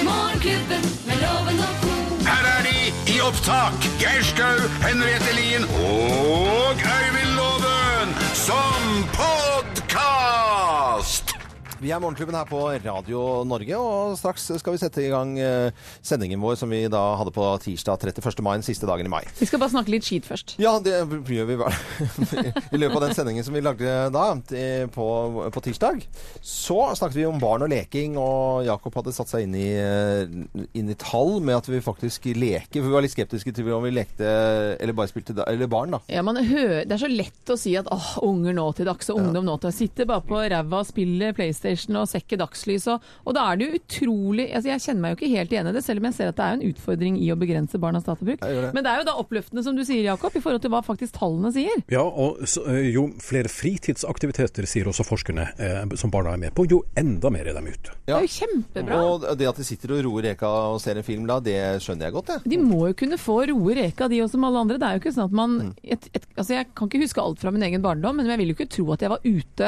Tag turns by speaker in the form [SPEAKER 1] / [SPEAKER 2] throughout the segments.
[SPEAKER 1] Morgenklubben med loven og ko.
[SPEAKER 2] Her er de i opptak. Geir Skau, Henriette Lien og Øyvind Loven som podkast!
[SPEAKER 3] Vi er Morgenklubben her på Radio Norge, og straks skal vi sette i gang eh, sendingen vår som vi da hadde på tirsdag 31. mai, den siste dagen i mai.
[SPEAKER 4] Vi skal bare snakke litt skit først.
[SPEAKER 3] Ja, det gjør vi bare. I løpet av den sendingen som vi lagde da, eh, på, på tirsdag, så snakket vi om barn og leking, og Jakob hadde satt seg inn i, eh, inn i tall med at vi faktisk leker, for vi var litt skeptiske til om vi lekte eller bare spilte da- eller barn, da.
[SPEAKER 4] Ja, man hø- det er så lett å si at åh, unger nå til dags og ungdom nå til dags. Sitter bare på ræva og spiller PlayStation og ser ikke dagslys. Og, og da er det jo utrolig altså Jeg kjenner meg jo ikke helt igjen i det, selv om jeg ser at det er jo en utfordring i å begrense barnas databruk.
[SPEAKER 3] gjør det.
[SPEAKER 4] Men det er jo da oppløftende, som du sier, Jakob, i forhold til hva faktisk tallene sier.
[SPEAKER 5] Ja, og så, eh, jo flere fritidsaktiviteter, sier også forskerne, eh, som barna er med på, jo enda mer er de ute.
[SPEAKER 4] Det er jo kjempebra.
[SPEAKER 3] Og det at de sitter og roer reka og ser en film da, det skjønner jeg godt, jeg.
[SPEAKER 4] De må jo kunne få roe reka, de også, som alle andre. Det er jo ikke sånn at man
[SPEAKER 3] Mm.
[SPEAKER 4] et, et, Altså, jeg kan ikke huske alt fra min egen barndom, men jeg vil jo ikke tro at jeg var ute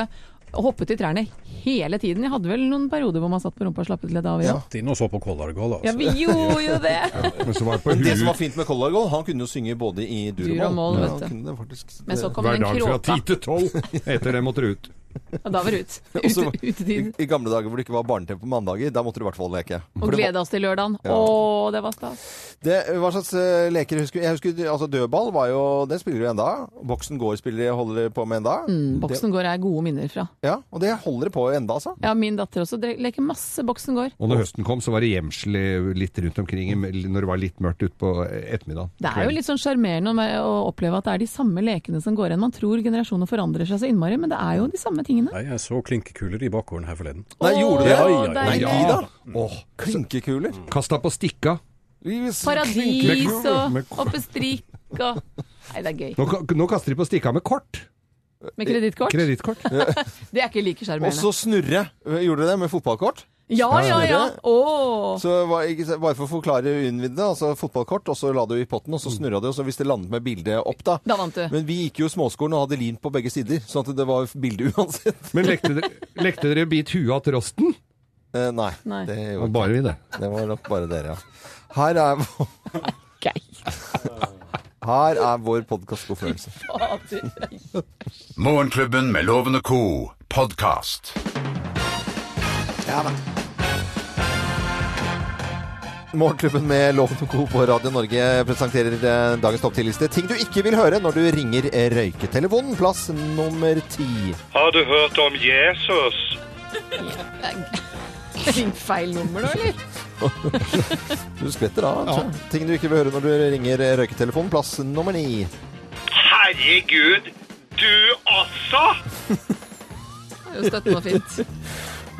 [SPEAKER 4] og hoppet i trærne hele tiden. Jeg hadde vel noen perioder hvor man satt på rumpa og slappet litt av. Ja.
[SPEAKER 5] Inn og så på Kollargål,
[SPEAKER 4] ja,
[SPEAKER 5] altså.
[SPEAKER 4] vi gjorde jo det!
[SPEAKER 6] Men så var jeg på
[SPEAKER 3] Det som var
[SPEAKER 6] huet
[SPEAKER 3] fint med Color Goal, han kunne jo synge både i dur og moll.
[SPEAKER 4] Dur og moll, vet
[SPEAKER 3] Ja,
[SPEAKER 4] du.
[SPEAKER 3] han kunne det faktisk-
[SPEAKER 4] Men så kom
[SPEAKER 6] hver
[SPEAKER 4] den
[SPEAKER 6] dag fra
[SPEAKER 4] kråka,
[SPEAKER 6] ti til tolv. Etter det måtte du ut.
[SPEAKER 4] og da var det ut.
[SPEAKER 3] Og så-
[SPEAKER 4] Ute- Utetid.
[SPEAKER 3] I, I gamle dager hvor det ikke var barne-TV på mandager, da måtte du i hvert fall leke.
[SPEAKER 4] Og
[SPEAKER 3] For det var-
[SPEAKER 4] glede oss til lørdagen.
[SPEAKER 3] Ja.
[SPEAKER 4] Å, det var stas.
[SPEAKER 3] Det, hva slags eh, leker husker Jeg husker altså dødball var jo Den spiller du enda. Boksen går spiller holder på med enda.
[SPEAKER 4] Boksen går er gode minner fra.
[SPEAKER 3] Ja, og det holder det på enda, altså.
[SPEAKER 4] Ja, min datter også dre- leker masse Boksen går.
[SPEAKER 6] Og når høsten kom, så var det gjemsel i- litt rundt omkring i- når det var litt mørkt utpå ettermiddagen.
[SPEAKER 4] Det er jo litt sånn sjarmerende å være- å oppleve at det er de samme lekene som går igjen. Man tror generasjoner forandrer seg så innmari, men det er jo de samme tingene.
[SPEAKER 5] Nei, jeg så klinkekuler i bakgården her forleden.
[SPEAKER 3] Nei,
[SPEAKER 4] Åh,
[SPEAKER 3] gjorde du det?
[SPEAKER 5] Oi, oi, oi.
[SPEAKER 3] Nei,
[SPEAKER 4] deilig.
[SPEAKER 3] de da? Åh,
[SPEAKER 4] Mm.
[SPEAKER 3] klinkekuler.
[SPEAKER 6] Kasta på stikka.
[SPEAKER 4] Paradis
[SPEAKER 6] Med-
[SPEAKER 4] og oppe strikk og Nei, det er gøy.
[SPEAKER 6] Nå, ka- nå kaster de på stikka med kort.
[SPEAKER 4] Med kredittkort?
[SPEAKER 6] Kredittkort.
[SPEAKER 4] Det er ikke like
[SPEAKER 3] Og
[SPEAKER 4] sjarmerende.
[SPEAKER 3] så snurre. eh, Gjorde du det med fotballkort?
[SPEAKER 4] Ja, ja, ja! Åh.
[SPEAKER 3] Så var, ikke, så- Bare for å forklare uinnvidde, altså fotballkort, og så la du i potten, og så snurra du, og så hvis det landet med bildet opp, da.
[SPEAKER 4] Da vant du.
[SPEAKER 3] Men vi gikk jo småskolen og hadde lim på begge sider, sånn at det var bilde uansett.
[SPEAKER 6] Men lekte dere, lekte dere bit huet av trosten?
[SPEAKER 3] Eh, nei,
[SPEAKER 4] Nei.
[SPEAKER 3] Det,
[SPEAKER 6] Det var
[SPEAKER 3] gjorde,
[SPEAKER 6] Bare vi, det.
[SPEAKER 3] det var nok bare dere, ja. Her er,
[SPEAKER 4] Gøy.
[SPEAKER 3] her er vår podkastgodfølelse.
[SPEAKER 2] Morgenklubben med Loven og co. podkast.
[SPEAKER 3] Morgenklubben med Loven og Co. på Radio Norge presenterer eh, dagens topp 10-liste. Ting du ikke vil høre når du ringer røyketelefonen. Plass nummer ti.
[SPEAKER 7] Har du hørt om Jesus?
[SPEAKER 4] Ring feil nummer nå, eller?
[SPEAKER 3] Du skvetter da, altså. Ting du ikke vil høre når du ringer røyketelefonen. Plass nummer ni.
[SPEAKER 7] Herregud, du også?
[SPEAKER 4] Det er jo støttende og fint.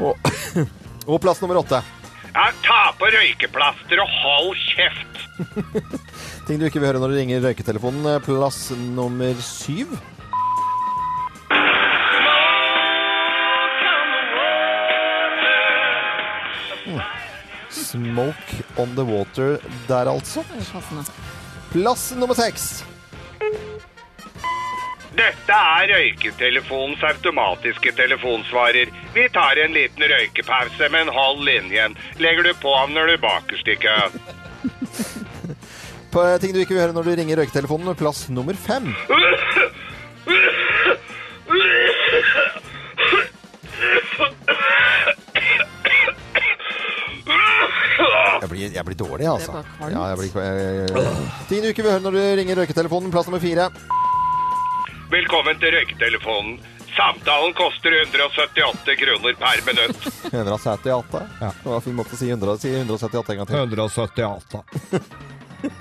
[SPEAKER 3] Og, og plass nummer åtte.
[SPEAKER 7] Ja, ta på røykeplaster og hold kjeft.
[SPEAKER 3] Ting du ikke vil høre når du ringer røyketelefonen. Plass nummer syv. Mm. Smoke on the water der, altså.
[SPEAKER 4] Det er Passende.
[SPEAKER 3] Plass nummer seks.
[SPEAKER 7] Dette er røyketelefonens automatiske telefonsvarer. Vi tar en liten røykepause, men hold linjen. Legger du på når du bakerst i køen.
[SPEAKER 3] På eh, ting du ikke vil høre når du ringer røyketelefonen, plass nummer fem. Jeg blir, jeg blir dårlig, altså.
[SPEAKER 4] Det er bare kvalmt.
[SPEAKER 3] Ja, jeg blir, kva- ting du ikke vil høre når du ringer røyketelefonen, plass nummer fire.
[SPEAKER 7] Velkommen til røyketelefonen. Samtalen koster 178 kroner per minutt.
[SPEAKER 3] 178. Det var en fin måte å si 100 si 178 en gang til.
[SPEAKER 6] 178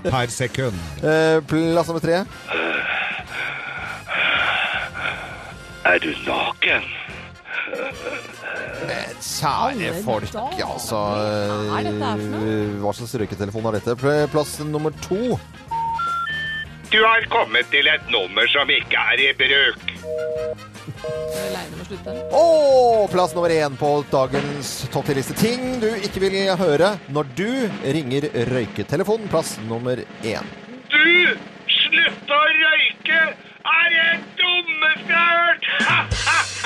[SPEAKER 6] per sekund.
[SPEAKER 3] Eh, Plass nummer tre.
[SPEAKER 7] Er du naken?
[SPEAKER 3] Eh, Kjære
[SPEAKER 4] Alle
[SPEAKER 3] folk,
[SPEAKER 4] dager.
[SPEAKER 3] altså.
[SPEAKER 4] Hva er dette her for noe?
[SPEAKER 3] eh, Hva slags røyketelefon er dette? Pl- Plass nummer to.
[SPEAKER 7] Du har kommet til et nummer som ikke er i bruk.
[SPEAKER 4] Jeg er lei meg for å slutte.
[SPEAKER 3] Og plass nummer én på dagens topp 10-liste. Ting du ikke vil høre når du ringer røyketelefonen. Plass nummer én.
[SPEAKER 7] Du, slutt å røyke! Er det dummeste jeg har hørt? Ha,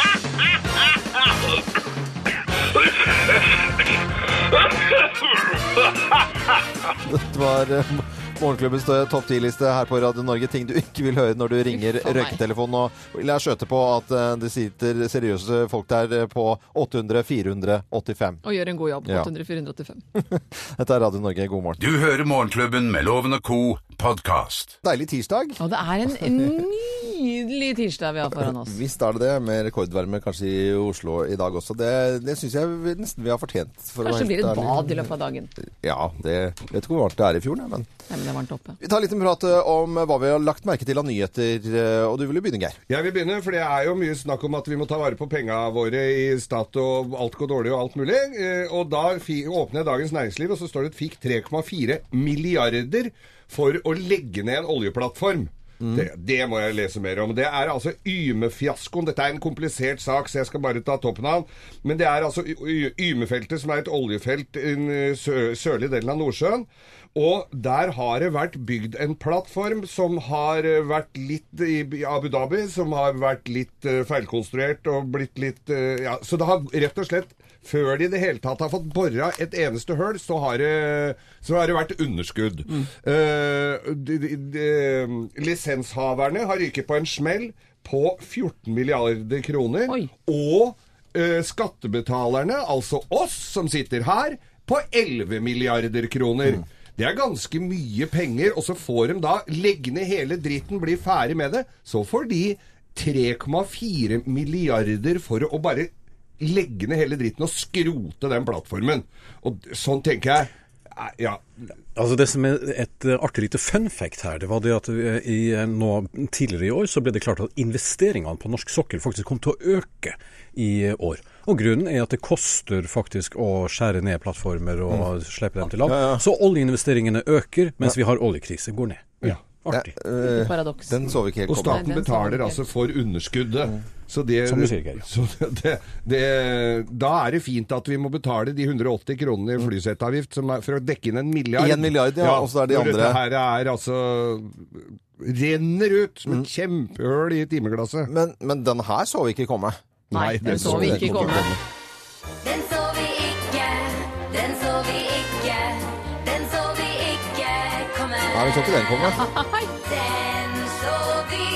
[SPEAKER 7] ha, ha, ha, ha, ha.
[SPEAKER 3] Dette var eh, Morgenklubbens topp 10-liste her på Radio Norge. Ting du ikke vil høre når du ringer
[SPEAKER 4] Uff a meg.
[SPEAKER 3] røyketelefonen. Og la skjøte på at eh, det sitter seriøse folk der eh, på 800 485.
[SPEAKER 4] Og gjør en god jobb.
[SPEAKER 3] Ja.
[SPEAKER 4] 800-485.
[SPEAKER 3] Dette er Radio Norge, god morgen.
[SPEAKER 2] Du hører Morgenklubben med Loven og Co. podkast.
[SPEAKER 3] Deilig tirsdag.
[SPEAKER 4] Og det er en nydelig tirsdag vi har foran oss.
[SPEAKER 3] Visst er det det, med rekordvarme kanskje i Oslo i dag også. Det, det syns jeg vi- nesten vi har fortjent. For å
[SPEAKER 4] Kanskje det
[SPEAKER 3] være
[SPEAKER 4] blir et
[SPEAKER 3] helt ærlig.
[SPEAKER 4] bad i løpet av dagen. Nei,
[SPEAKER 3] Ja, det jeg vet ikke hvor varmt det er i fjorden, jeg, men
[SPEAKER 4] men det er varmt oppe.
[SPEAKER 3] Vi tar litt en prat eh, om hva vi har lagt merke til av nyheter, eh, og du ville begynne, Geir.
[SPEAKER 6] Jeg vil begynne, for det er jo mye snakk om at vi må ta vare på penga våre i stat og alt går dårlig og alt mulig. Eh, Og da fi- åpner jeg Dagens Næringsliv, og så står det at fikk 3,4 milliarder for å legge ned en oljeplattform. Det, det må jeg lese mer om. Det er altså Yme-fiaskoen. Dette er en komplisert sak, så jeg skal bare ta toppen av den. Men det er altså Y- Y- Yme-feltet, som er et oljefelt i den eh, sø sørlige delen av Nordsjøen. Og der har det vært bygd en plattform som har eh, vært litt i i Abu Dhabi, som har vært litt eh, feilkonstruert og blitt litt eh, Ja, så det har rett og slett før de i det hele tatt har fått bora et eneste høl, så har det, så har det vært underskudd. Eh, de, de, de, lisenshaverne har ryket på en smell på 14 milliarder kroner.
[SPEAKER 4] Oi.
[SPEAKER 6] Og eh, skattebetalerne, altså oss som sitter her, på 11 milliarder kroner. Det er ganske mye penger, og så får de da legge ned hele dritten, bli ferdig med det. Så får de 3,4 milliarder for å bare legge ned hele dritten og skrote den plattformen. Og d- sånn tenker jeg eh, Ja.
[SPEAKER 5] Altså Det som er et eh, artig lite fun fact her, det var det at eh, i, eh, nå, tidligere i år så ble det klart at investeringene på norsk sokkel faktisk kom til å øke i eh, år. Og grunnen er at det koster faktisk å skjære ned plattformer og slippe dem til land. Så oljeinvesteringene øker, mens vi har oljekrise. Går ned. Ja, Artig.
[SPEAKER 3] Eh,
[SPEAKER 4] Paradoks.
[SPEAKER 3] Den så vi ikke helt
[SPEAKER 6] Og
[SPEAKER 3] komme.
[SPEAKER 6] staten
[SPEAKER 4] Nei, den sa vi
[SPEAKER 6] betaler
[SPEAKER 4] ikke.
[SPEAKER 6] altså for underskuddet.
[SPEAKER 3] Mm.
[SPEAKER 6] Så det,
[SPEAKER 5] Som du sier, Geir.
[SPEAKER 6] så det, det, da er det fint at vi må betale de 180 kronene i flysettavgift som er, for å dekke inn en milliard.
[SPEAKER 3] Mm. En milliard, ja, og så er de
[SPEAKER 6] når
[SPEAKER 3] andre-
[SPEAKER 6] Dette her er altså renner ut som et
[SPEAKER 3] Mm.
[SPEAKER 6] kjempehull i timeglasset.
[SPEAKER 3] Men, men den her så vi ikke komme.
[SPEAKER 4] Nei,
[SPEAKER 6] Nei,
[SPEAKER 4] den så vi ikke komme.
[SPEAKER 1] Den så vi ikke, den så vi ikke, den så vi ikke komme.
[SPEAKER 3] Nei, vi så ikke den komme.
[SPEAKER 1] Den så vi ikke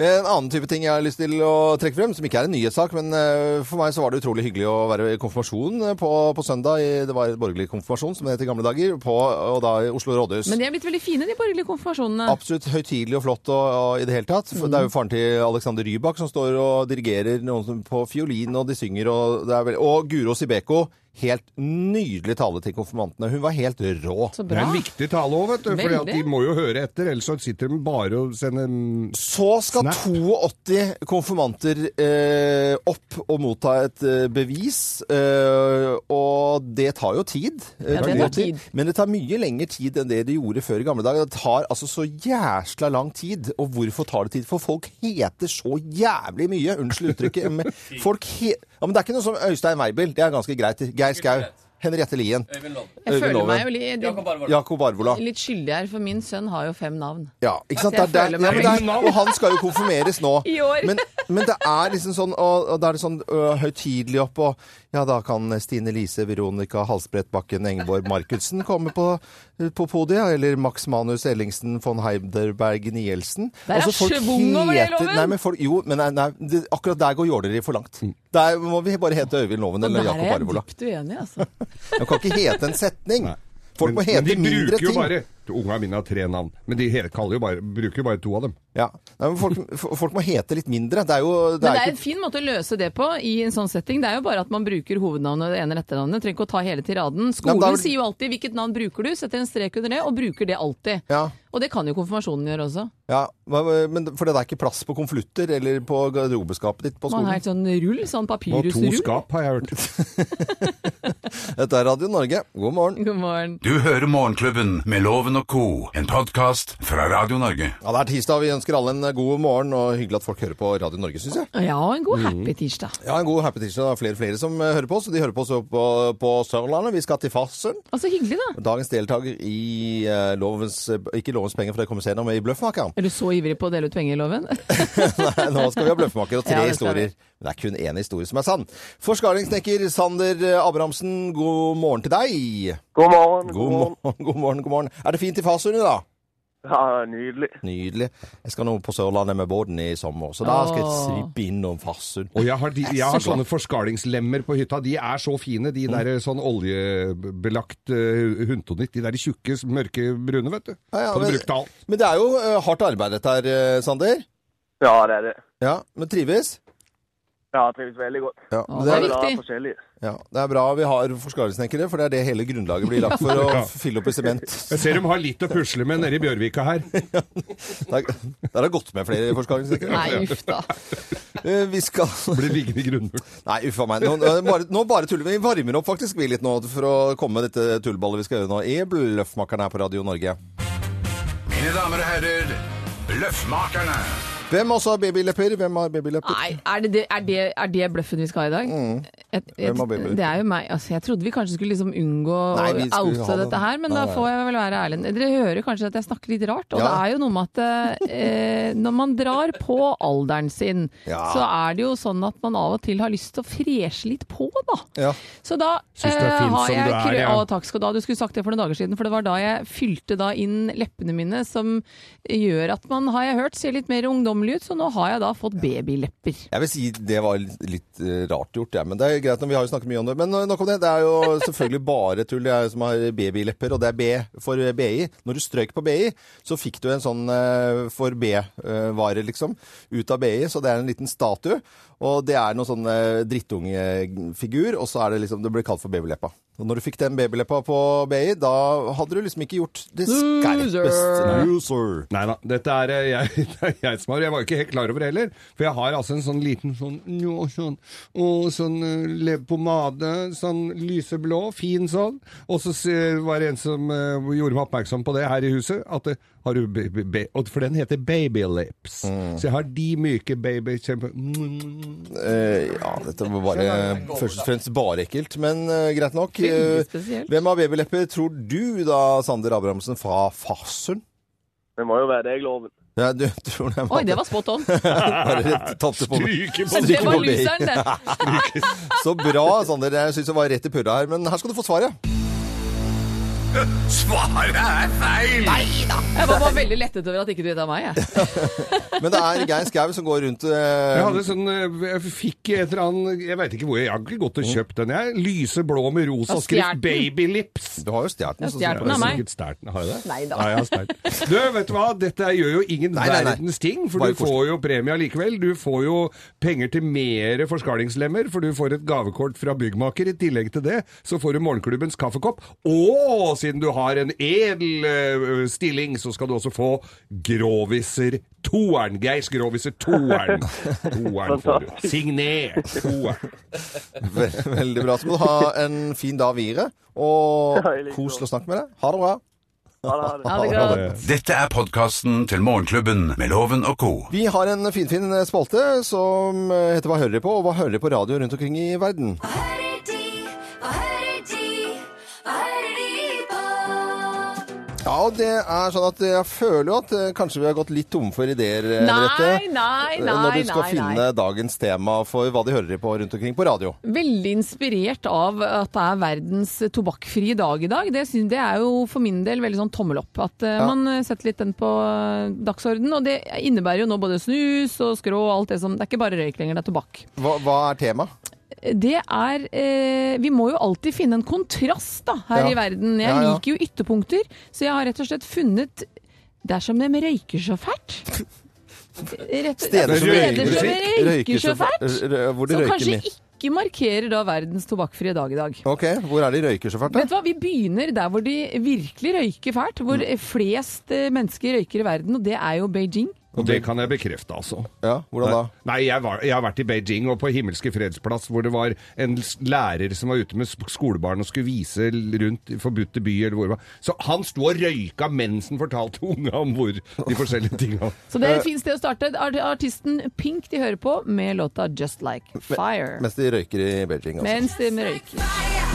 [SPEAKER 3] En annen type ting jeg har lyst til å trekke frem, som ikke er en nyhetssak, men eh, for meg så var det utrolig hyggelig å være i konfirmasjon eh, på, på søndag. i- Det var borgerlig konfirmasjon, som det het i gamle dager, på, og da i Oslo rådhus.
[SPEAKER 4] Men de er blitt veldig fine, de borgerlige konfirmasjonene.
[SPEAKER 3] Absolutt høytidelig og flott og, og i det hele tatt. For Det
[SPEAKER 4] Mm.
[SPEAKER 3] er jo faren til Alexander Rybak som står og dirigerer noen som på fiolin, og de synger, og det er vel Og Guro Sibeko. Helt nydelig tale til konfirmantene. Hun var helt rå.
[SPEAKER 4] Så
[SPEAKER 6] Det er
[SPEAKER 4] bra.
[SPEAKER 6] en viktig tale òg, vet du. For
[SPEAKER 4] Veldig.
[SPEAKER 6] de må jo høre etter, ellers så sitter de bare og sender
[SPEAKER 3] Så skal
[SPEAKER 6] Snap.
[SPEAKER 3] 82 konfirmanter eh, opp og motta et eh, bevis, eh, og det tar jo tid. eh,
[SPEAKER 4] Ja, det
[SPEAKER 3] mye
[SPEAKER 4] tar tid.
[SPEAKER 3] Men det tar mye lengre tid enn det det gjorde før i gamle dager. Det tar altså så jæsla lang tid. Og hvorfor tar det tid? For folk heter så jævlig mye. Unnskyld uttrykket. Men folk he ja, men det er ikke noe som Øystein Weibel. Det er ganske greit. Geir Skau. Henriette Lien.
[SPEAKER 4] Jeg
[SPEAKER 3] Øyvind
[SPEAKER 4] føler meg jo
[SPEAKER 3] Loven.
[SPEAKER 4] litt,
[SPEAKER 3] Jakob Arvola.
[SPEAKER 4] litt skyldig her, for min sønn har jo fem navn.
[SPEAKER 3] Ja, ikke sant?
[SPEAKER 4] Jeg
[SPEAKER 3] Det er
[SPEAKER 4] føler
[SPEAKER 3] der,
[SPEAKER 4] meg
[SPEAKER 3] ja, men det er, og han skal jo konfirmeres nå.
[SPEAKER 4] I år.
[SPEAKER 3] Men, men det er liksom sånn, og, og da er det sånn øh, høytidelig opp, og ja, da kan Stine Lise, Veronica Halsbrettbakken, Engborg Markudsen komme på, på podiet, eller Max Manus Ellingsen von Heiderberg Nielsen.
[SPEAKER 4] Der er schwung over det, Loven.
[SPEAKER 3] Nei, men folk, jo, men nei, nei, det, akkurat der går jåleri for langt.
[SPEAKER 6] Mm.
[SPEAKER 3] Der må vi bare hete Øyvind Loven
[SPEAKER 4] Og
[SPEAKER 3] eller
[SPEAKER 4] der er
[SPEAKER 3] Jakob
[SPEAKER 4] jeg
[SPEAKER 3] Arvola.
[SPEAKER 4] dypt uenig, altså.
[SPEAKER 3] Man kan ikke hete en setning. Folk må
[SPEAKER 6] men,
[SPEAKER 3] hete
[SPEAKER 6] men de
[SPEAKER 3] mindre
[SPEAKER 6] bruker jo
[SPEAKER 3] ting.
[SPEAKER 6] bare Unga mine har tre navn, men de he- kaller jo bare, bruker jo bare to av dem.
[SPEAKER 3] Ja. Nei, men folk, folk må hete litt mindre. Det er jo det
[SPEAKER 4] Men det
[SPEAKER 3] ikke-
[SPEAKER 4] er en fin måte å løse det på i en sånn setting. Det er jo bare at man bruker hovednavnet og det ene etternavnet. Trenger ikke å ta hele tiraden. Skolen
[SPEAKER 3] Nei, men da-
[SPEAKER 4] sier jo alltid 'hvilket navn bruker du', setter en strek under det, og bruker det alltid.
[SPEAKER 3] Ja.
[SPEAKER 4] Og det kan jo konfirmasjonen gjøre også.
[SPEAKER 3] Ja, hva- men For det er ikke plass på konvolutter eller på garderobeskapet ditt på
[SPEAKER 4] Man har
[SPEAKER 3] skolen?
[SPEAKER 4] helt sånn rull, sånn
[SPEAKER 6] Og to
[SPEAKER 4] papyrusrull.
[SPEAKER 6] skap har jeg hørt.
[SPEAKER 3] Dette er Radio Norge. God morgen.
[SPEAKER 4] God morgen.
[SPEAKER 2] Du hører Morgenklubben med Loven og Co., en podkast fra Radio Norge.
[SPEAKER 3] Ja, Det er tirsdag. Vi ønsker alle en god morgen, og hyggelig at folk hører på Radio Norge, syns jeg.
[SPEAKER 4] Ja, og en god happy tirsdag.
[SPEAKER 3] Ja, en god happy tirsdag. Det er flere og flere som eh, hører på oss. og De hører på oss på, på Sørlandet. Vi skal til Farsund.
[SPEAKER 4] Altså hyggelig, da.
[SPEAKER 3] Dagens deltaker i eh, lovens eh, Ikke lovens penger, for det kommer senere, men i Bløffmakeren.
[SPEAKER 4] Er du så ivrig på å dele ut penger i loven?
[SPEAKER 3] Nei, nå skal vi ha bløffmaker og tre
[SPEAKER 4] Ja, det skal vi.
[SPEAKER 3] historier. Men det er kun én historie som er sann. Forskaringssnekker Sander Abrahamsen, god morgen til deg.
[SPEAKER 8] God morgen.
[SPEAKER 3] God morgen, god morgen. god morgen. Er det fint i Farsund i dag?
[SPEAKER 8] Ja, nydelig.
[SPEAKER 3] Nydelig. Jeg skal nå på Sørlandet med båten i sommer, så da skal jeg
[SPEAKER 4] Åh.
[SPEAKER 3] svippe innom Farsund.
[SPEAKER 6] Og jeg har, de, jeg har sånne forskalingslemmer på hytta. De er så fine, de der sånn oljebelagt uh, hundtonitt. De der tjukke, mørke brune, vet du.
[SPEAKER 3] Ja, ja,
[SPEAKER 6] Kan du
[SPEAKER 3] men-
[SPEAKER 6] bruke til alt.
[SPEAKER 3] Men det er jo eh, hardt arbeid dette her, eh, Sander.
[SPEAKER 8] Ja, det er det.
[SPEAKER 3] Ja, men trives?
[SPEAKER 8] Ja, jeg trives veldig godt.
[SPEAKER 3] Ja,
[SPEAKER 4] Å,
[SPEAKER 3] men
[SPEAKER 4] det er
[SPEAKER 8] Da
[SPEAKER 4] viktig.
[SPEAKER 8] forskjellige.
[SPEAKER 3] ja, det er bra vi har forskaringssnekkere, for det er det hele grunnlaget blir lagt for å fylle opp i sement.
[SPEAKER 6] Jeg ser de har litt å pusle med nede i Bjørvika her.
[SPEAKER 3] Der der har det gått med flere forskaringssnekkere.
[SPEAKER 4] Nei, uff da.
[SPEAKER 3] Eh, Vi skal
[SPEAKER 6] Blir liggende i grunnmuren.
[SPEAKER 3] Nei, uff a meg. Nå, nå bare, nå bare tuller vi. Vi varmer opp faktisk vi litt nå for å komme med dette tullballet vi skal gjøre nå i Bløffmakerne her på Radio Norge.
[SPEAKER 2] Mine damer og herrer, Løffmakerne.
[SPEAKER 3] Hvem også har babylepper? Hvem har babylepper?
[SPEAKER 4] Nei, er det, det, er, det, er det bløffen vi skal ha i dag?
[SPEAKER 3] Mm.
[SPEAKER 4] Et, et,
[SPEAKER 3] Hvem har baby?
[SPEAKER 4] det er jo meg. Altså, jeg trodde vi kanskje skulle liksom unngå
[SPEAKER 3] Nei, vi
[SPEAKER 4] å
[SPEAKER 3] skulle ha
[SPEAKER 4] oute
[SPEAKER 3] det.
[SPEAKER 4] dette her, men
[SPEAKER 3] Nei,
[SPEAKER 4] da
[SPEAKER 3] nei.
[SPEAKER 4] får jeg vel være ærlig. Dere hører kanskje at jeg snakker litt rart, og det
[SPEAKER 3] Ja.
[SPEAKER 4] er jo noe med at eh, når man drar på alderen sin,
[SPEAKER 3] Ja.
[SPEAKER 4] så er det jo sånn at man av og til har lyst til å freshe litt på, da.
[SPEAKER 3] Ja.
[SPEAKER 4] Så da
[SPEAKER 6] Syns du er fin som
[SPEAKER 4] Eh, jeg
[SPEAKER 6] du er,
[SPEAKER 4] krø-
[SPEAKER 6] ja.
[SPEAKER 4] Å, takk skal du ha. Du skulle sagt det for noen dager siden, for det var da jeg fylte da inn leppene mine, som gjør at man, har jeg hørt, ser litt mer ungdommelig ut. Så nå har jeg da fått babylepper.
[SPEAKER 3] Jeg vil si det var litt, litt eh, rart gjort, ja. men det er greit. når Vi har jo snakket mye om det. Men eh, nok om det. Det er jo selvfølgelig bare tull det er som har babylepper, og det er B for eh, BI. Når du strøyk på BI, så fikk du en sånn eh, for B-vare, liksom, ut av BI. Så det er en liten statue, og det er noen sånn eh, drittungefigur, og så er det liksom Det blir kalt for babyleppa. Og når du fikk den babyleppa på BI, da hadde du liksom ikke gjort det skarpeste. Loser.
[SPEAKER 6] Nei da, dette er eh, jeg, det er jeg som har Jeg var ikke helt klar over det heller. For jeg har altså en sånn liten sånn nå, sånn, og sånn eh, le- pomade, sånn lyseblå, fin sånn. Og så se- var det en som eh, gjorde meg oppmerksom på det her i huset. At det, har du ba- ba- ba- og For den heter Baby Lips. Så jeg har de myke baby kjempe...
[SPEAKER 3] Eh, ja, dette var bare først og fremst bare ekkelt, men eh, greit nok.
[SPEAKER 4] Veldig
[SPEAKER 3] Eh,
[SPEAKER 4] spesielt.
[SPEAKER 3] hvem av babylepper tror du da, Sander Abrahamsen fra Farsund?
[SPEAKER 8] Det må jo være deg, Loven.
[SPEAKER 3] Ja, du tror det er
[SPEAKER 4] Oi, det var spot on!
[SPEAKER 3] bare tatt det på meg.
[SPEAKER 6] Stryker på
[SPEAKER 4] Det var
[SPEAKER 3] på BI.
[SPEAKER 4] lyseren, det.
[SPEAKER 3] Så bra, Sander. Jeg syns det var rett i purra her, men her skal du få svaret.
[SPEAKER 2] Svaret er feil!
[SPEAKER 4] Jeg var bare veldig lettet over at ikke du vet av meg. Jeg.
[SPEAKER 3] Men det er Geir Skau som går rundt
[SPEAKER 6] Jeg
[SPEAKER 3] eh,
[SPEAKER 6] hadde sånn eh, Jeg fikk et eller annet Jeg veit ikke hvor jeg, jeg har ikke gått og kjøpt den, jeg. Lyseblå med rosa
[SPEAKER 4] Og
[SPEAKER 6] skrift.
[SPEAKER 4] stjerten.
[SPEAKER 6] Baby Lips.
[SPEAKER 3] Du har jo stjålet den. så-
[SPEAKER 4] Jeg har stjert den av meg.
[SPEAKER 6] Sikkert sterten, har jeg det?
[SPEAKER 4] Nei da.
[SPEAKER 6] jeg har sterten. Du, vet du hva? Dette gjør jo ingen
[SPEAKER 3] Nei, nei, nei.
[SPEAKER 6] verdens ting, for
[SPEAKER 3] Bare
[SPEAKER 6] du får jo premie likevel. Du får jo penger til mere forskalingslemmer, for du får et gavekort fra byggmaker. I tillegg til det så får du morgenklubbens kaffekopp. Og siden du har en edel eh, stilling, så skal du også få Groviser toeren. Geirs Groviser toeren. Toeren får du. Signert toeren.
[SPEAKER 3] Ve- Veldig bra. Så må du ha en fin dag videre, og
[SPEAKER 8] Ja, jeg liker
[SPEAKER 3] koselig å snakke med deg. Ha det bra.
[SPEAKER 8] Ha det, ha det.
[SPEAKER 4] Ja, det er godt.
[SPEAKER 2] Dette er podkasten til Morgenklubben med Loven og Co.
[SPEAKER 3] Vi har en finfin spalte som eh, heter Hva hører dere på? Og hva hører dere på radio rundt omkring i verden?
[SPEAKER 1] Hva hører de, hva hører de, hva hører de på?
[SPEAKER 3] Ja, og det er sånn at jeg føler jo at eh, kanskje vi har gått litt tom for ideer, eh,
[SPEAKER 4] Nei,
[SPEAKER 3] Henriette,
[SPEAKER 4] nei,
[SPEAKER 3] eh, Når
[SPEAKER 4] nei.
[SPEAKER 3] du skal
[SPEAKER 4] nei,
[SPEAKER 3] finne
[SPEAKER 4] nei.
[SPEAKER 3] dagens tema for hva de hører på rundt omkring på radio.
[SPEAKER 4] Veldig inspirert av at det er verdens tobakkfrie dag i dag. Det, syn- det er jo for min del veldig sånn tommel opp. At eh,
[SPEAKER 3] Ja.
[SPEAKER 4] man eh, setter litt den på eh, dagsorden. Og det innebærer jo nå både snus og skrå og alt det som Det er ikke bare røyk lenger, det er tobakk.
[SPEAKER 3] Hva, hva er tema?
[SPEAKER 4] det er eh, Vi må jo alltid finne en kontrast da, her
[SPEAKER 3] Ja.
[SPEAKER 4] i verden. Jeg
[SPEAKER 3] Ja, ja.
[SPEAKER 4] liker jo ytterpunkter, så jeg har rett og slett funnet Det er som de røyker så fælt. Rett,
[SPEAKER 3] Steder som
[SPEAKER 4] Steder
[SPEAKER 3] røyker-
[SPEAKER 4] som røyker så fælt.
[SPEAKER 3] r- r- Hvor de
[SPEAKER 4] Som
[SPEAKER 3] røyker
[SPEAKER 4] kanskje
[SPEAKER 3] mye.
[SPEAKER 4] ikke markerer da verdens tobakkfrie dag i dag.
[SPEAKER 3] Ok, hvor er de røyker så fælt? da?
[SPEAKER 4] Vet du hva, Vi begynner der
[SPEAKER 3] Mm.
[SPEAKER 4] hvor de virkelig røyker fælt. Hvor flest eh, mennesker røyker i verden, og det er jo Beijing.
[SPEAKER 6] Og det kan jeg bekrefte, altså.
[SPEAKER 3] Ja, hvordan da?
[SPEAKER 6] Nei, jeg, var, jeg har vært i Beijing og på Himmelske fredsplass, hvor det var en s- lærer som var ute med sk- skolebarn og skulle vise l- rundt i forbudte by, eller hvor det var. Så han sto og røyka mens han fortalte unga om hvor de forskjellige tinga
[SPEAKER 4] Så det er
[SPEAKER 3] Eh.
[SPEAKER 4] et fint sted å starte. Art- Artisten Pink de hører på med låta 'Just Like Fire'.
[SPEAKER 3] Mens de røyker i Beijing, altså.
[SPEAKER 4] Mens de røyker.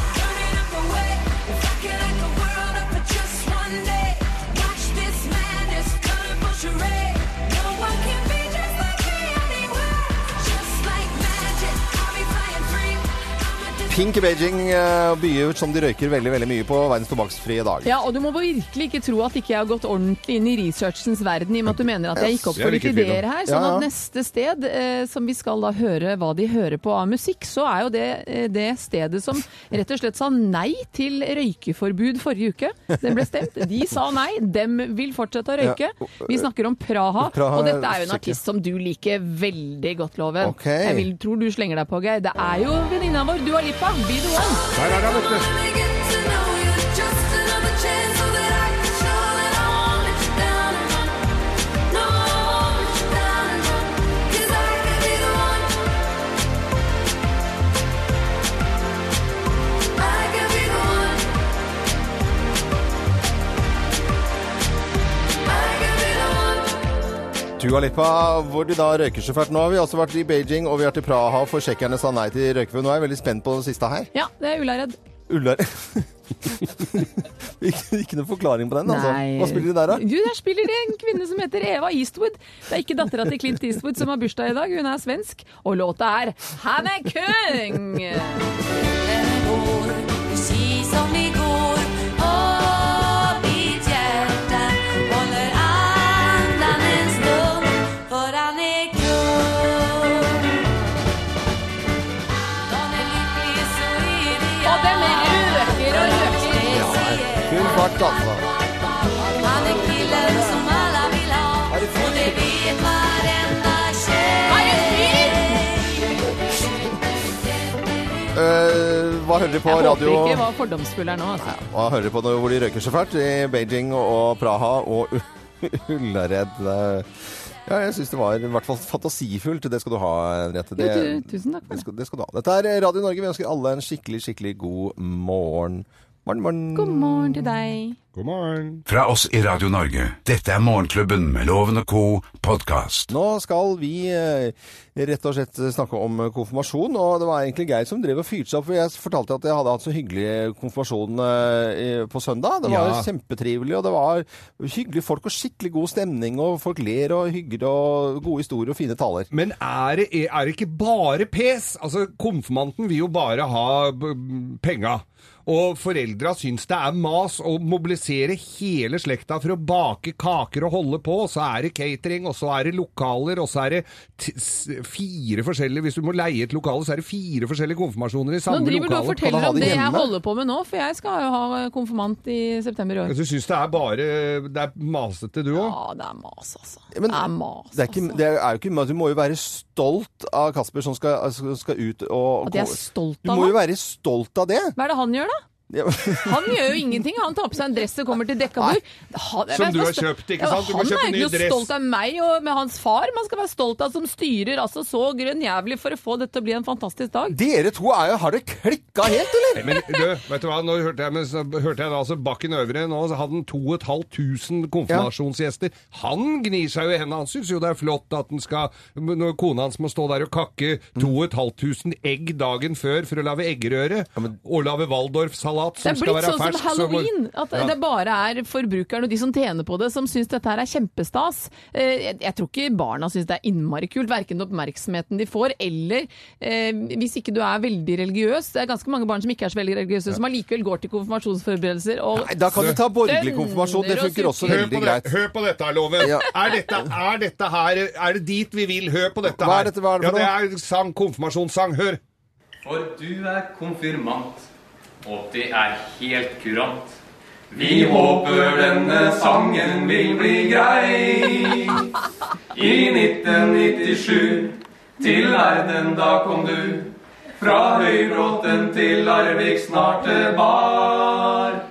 [SPEAKER 3] Pink i Beijing eh, byer ut som de røyker veldig veldig mye på verdens tobakksfrie dag.
[SPEAKER 4] Ja, og du må virkelig ikke tro at ikke jeg har gått ordentlig inn i researchens verden, i og med at du mener at jeg gikk opp
[SPEAKER 6] Jeg er
[SPEAKER 4] for litt
[SPEAKER 6] ikke i tvil om.
[SPEAKER 4] ideer her.
[SPEAKER 3] Ja,
[SPEAKER 4] Sånn
[SPEAKER 3] ja.
[SPEAKER 4] at neste sted eh, som vi skal da høre hva de hører på av musikk, så er jo det eh, det stedet som rett og slett sa nei til røykeforbud forrige uke. Den ble stemt. De sa nei. Dem vil fortsette å røyke. Vi snakker om Praha,
[SPEAKER 3] Praha
[SPEAKER 4] og dette er jo en
[SPEAKER 3] Tsjekkia.
[SPEAKER 4] artist som du liker veldig godt, Loven.
[SPEAKER 3] Ok.
[SPEAKER 4] Jeg vil, tror du slenger deg på, Geir. Det er jo venninna vår, Dua Lipa. Be the one.
[SPEAKER 6] Der er han, vet du.
[SPEAKER 3] Dua Lipa, hvor de da røyker seg fælt. Nå har vi også vært i Beijing, og vi har vært i Praha, for tsjekkerne sa nei til røykeforbud. Nå er jeg veldig spent på den siste her.
[SPEAKER 4] Ja, det er Ullæredd.
[SPEAKER 3] Ullær... ikke, ikke noe forklaring på den, altså.
[SPEAKER 4] Nei.
[SPEAKER 3] Hva spiller de der, da?
[SPEAKER 4] Du, der spiller det en kvinne som heter Eva Eastwood. Det er ikke dattera til Clint Eastwood som har bursdag i dag, hun er svensk. Og låta er 'Han er kung'! Og den røker og røker.
[SPEAKER 3] Full fart, altså.
[SPEAKER 1] Han är killen som alla vill ha
[SPEAKER 3] Er det fyr?
[SPEAKER 1] Och det vet varenda tjej
[SPEAKER 4] Var det fyr?
[SPEAKER 3] Eh, hva hører de på?
[SPEAKER 4] Jeg håper
[SPEAKER 3] Radio
[SPEAKER 4] ikke var fordomsfull her nå, altså.
[SPEAKER 3] Hva hører de på når, hvor de røyker seg fælt? I Beijing og Praha og Ullared. Eh, Ja, jeg syns det var i hvert fall fantasifullt. Det skal du ha, Henriette. Det,
[SPEAKER 4] Jo, du, tusen takk for
[SPEAKER 3] det,
[SPEAKER 4] det.
[SPEAKER 3] skal, det skal du ha. Dette er Radio Norge. Vi ønsker alle en skikkelig, skikkelig god morgen. Morgen, morgen.
[SPEAKER 4] God morgen til deg.
[SPEAKER 6] God morgen.
[SPEAKER 2] Fra oss i Radio Norge. Dette er Morgenklubben med Loven og co. podkast.
[SPEAKER 3] Nå skal vi eh, rett og slett snakke om konfirmasjon, og det var egentlig Geir som drev og fyrte seg opp, for jeg fortalte at jeg hadde hatt så hyggelig konfirmasjon eh, i- på søndag. Det var
[SPEAKER 6] Ja.
[SPEAKER 3] kjempetrivelig, og det var hyggelige folk og skikkelig god stemning, og folk ler og hygger og gode historier og fine taler.
[SPEAKER 6] Men er det, er det ikke bare pes? Altså, konfirmanten vil jo bare ha b- penga. Og foreldra syns det er mas å mobilisere hele slekta for å bake kaker og holde på. Så er det catering, og så er det lokaler, og så er det t s fire forskjellige Hvis du må leie et lokale, så er det fire forskjellige konfirmasjoner
[SPEAKER 4] Nå
[SPEAKER 6] i samme
[SPEAKER 4] driver du og
[SPEAKER 3] Kan du
[SPEAKER 6] lokale.
[SPEAKER 4] forteller
[SPEAKER 3] ha
[SPEAKER 4] om
[SPEAKER 3] det
[SPEAKER 4] det jeg
[SPEAKER 3] hjemme?
[SPEAKER 4] holder på med nå, for jeg skal jo ha konfirmant i september i år.
[SPEAKER 6] Du syns det er bare Det er masete, du òg?
[SPEAKER 4] Ja, det er mas, altså.
[SPEAKER 3] men-
[SPEAKER 4] Det er mas,
[SPEAKER 3] Det er, ikke,
[SPEAKER 4] altså.
[SPEAKER 3] det er jo ikke, men Du må jo være stolt av Kasper som skal, skal- skal ut og
[SPEAKER 4] At jeg er stolt
[SPEAKER 3] Du
[SPEAKER 4] av
[SPEAKER 3] må jo
[SPEAKER 4] ham?
[SPEAKER 3] være stolt av det!
[SPEAKER 4] Hva er det han gjør, da?
[SPEAKER 3] Ja.
[SPEAKER 4] Han gjør jo ingenting. Han tar på seg en dress og kommer til dekka bord. Han-
[SPEAKER 6] Som
[SPEAKER 4] jeg
[SPEAKER 6] du
[SPEAKER 4] var
[SPEAKER 6] har
[SPEAKER 4] sto-
[SPEAKER 6] kjøpt, ikke
[SPEAKER 4] Ja,
[SPEAKER 6] sant? Du må
[SPEAKER 4] han
[SPEAKER 6] kjøpe
[SPEAKER 4] er
[SPEAKER 6] ny
[SPEAKER 4] jo ikke
[SPEAKER 6] dress.
[SPEAKER 4] stolt av meg og med hans far. Man skal være stolt av som styrer altså så grønn jævlig for å få dette til å bli en fantastisk dag.
[SPEAKER 3] Dere to er jo Har det klikka helt, eller?
[SPEAKER 6] Nei, Men du, vet du hva, nå hørte jeg, men, så, hørte jeg da, altså Bakken Øvre nå, så hadde han 2500 konfirmasjonsgjester. Han gnir seg jo i hendene, han syns jo det er flott at han skal, når kona hans må stå der og kakke 2500 egg dagen før for å lage eggerøre, og lage Waldorf-salat
[SPEAKER 4] Det
[SPEAKER 6] som
[SPEAKER 4] er
[SPEAKER 6] skal
[SPEAKER 4] blitt
[SPEAKER 6] være
[SPEAKER 4] sånn som
[SPEAKER 6] fersk. så må-
[SPEAKER 4] halloween, at
[SPEAKER 6] Ja.
[SPEAKER 4] det bare er forbrukeren og de som tjener på det, som syns dette her er kjempestas. Eh, Jeg, jeg tror ikke barna syns det er innmari kult, verken oppmerksomheten de får, eller eh, hvis ikke du er veldig religiøs. Det er ganske mange barn som ikke er så veldig religiøse, som allikevel går til konfirmasjonsforberedelser og
[SPEAKER 3] Nei, da kan du ta borgerlig
[SPEAKER 4] Dønner
[SPEAKER 3] konfirmasjon. Det
[SPEAKER 4] og
[SPEAKER 3] funker også
[SPEAKER 4] sukker.
[SPEAKER 6] Hør
[SPEAKER 3] veldig
[SPEAKER 6] på, det,
[SPEAKER 3] greit.
[SPEAKER 6] hør på dette, Loven.
[SPEAKER 3] Ja.
[SPEAKER 6] Er, dette, er dette her Er det dit vi vil? Hør på dette her.
[SPEAKER 3] Hva er dette- hva er det for
[SPEAKER 6] ja, det er sang, konfirmasjonssang. Hør.
[SPEAKER 9] For du er konfirmant, og det er helt kurant. Vi håper denne sangen vil bli grei. I 1997 til verden da kom du. Fra Høybråten til Larvik snart det bar.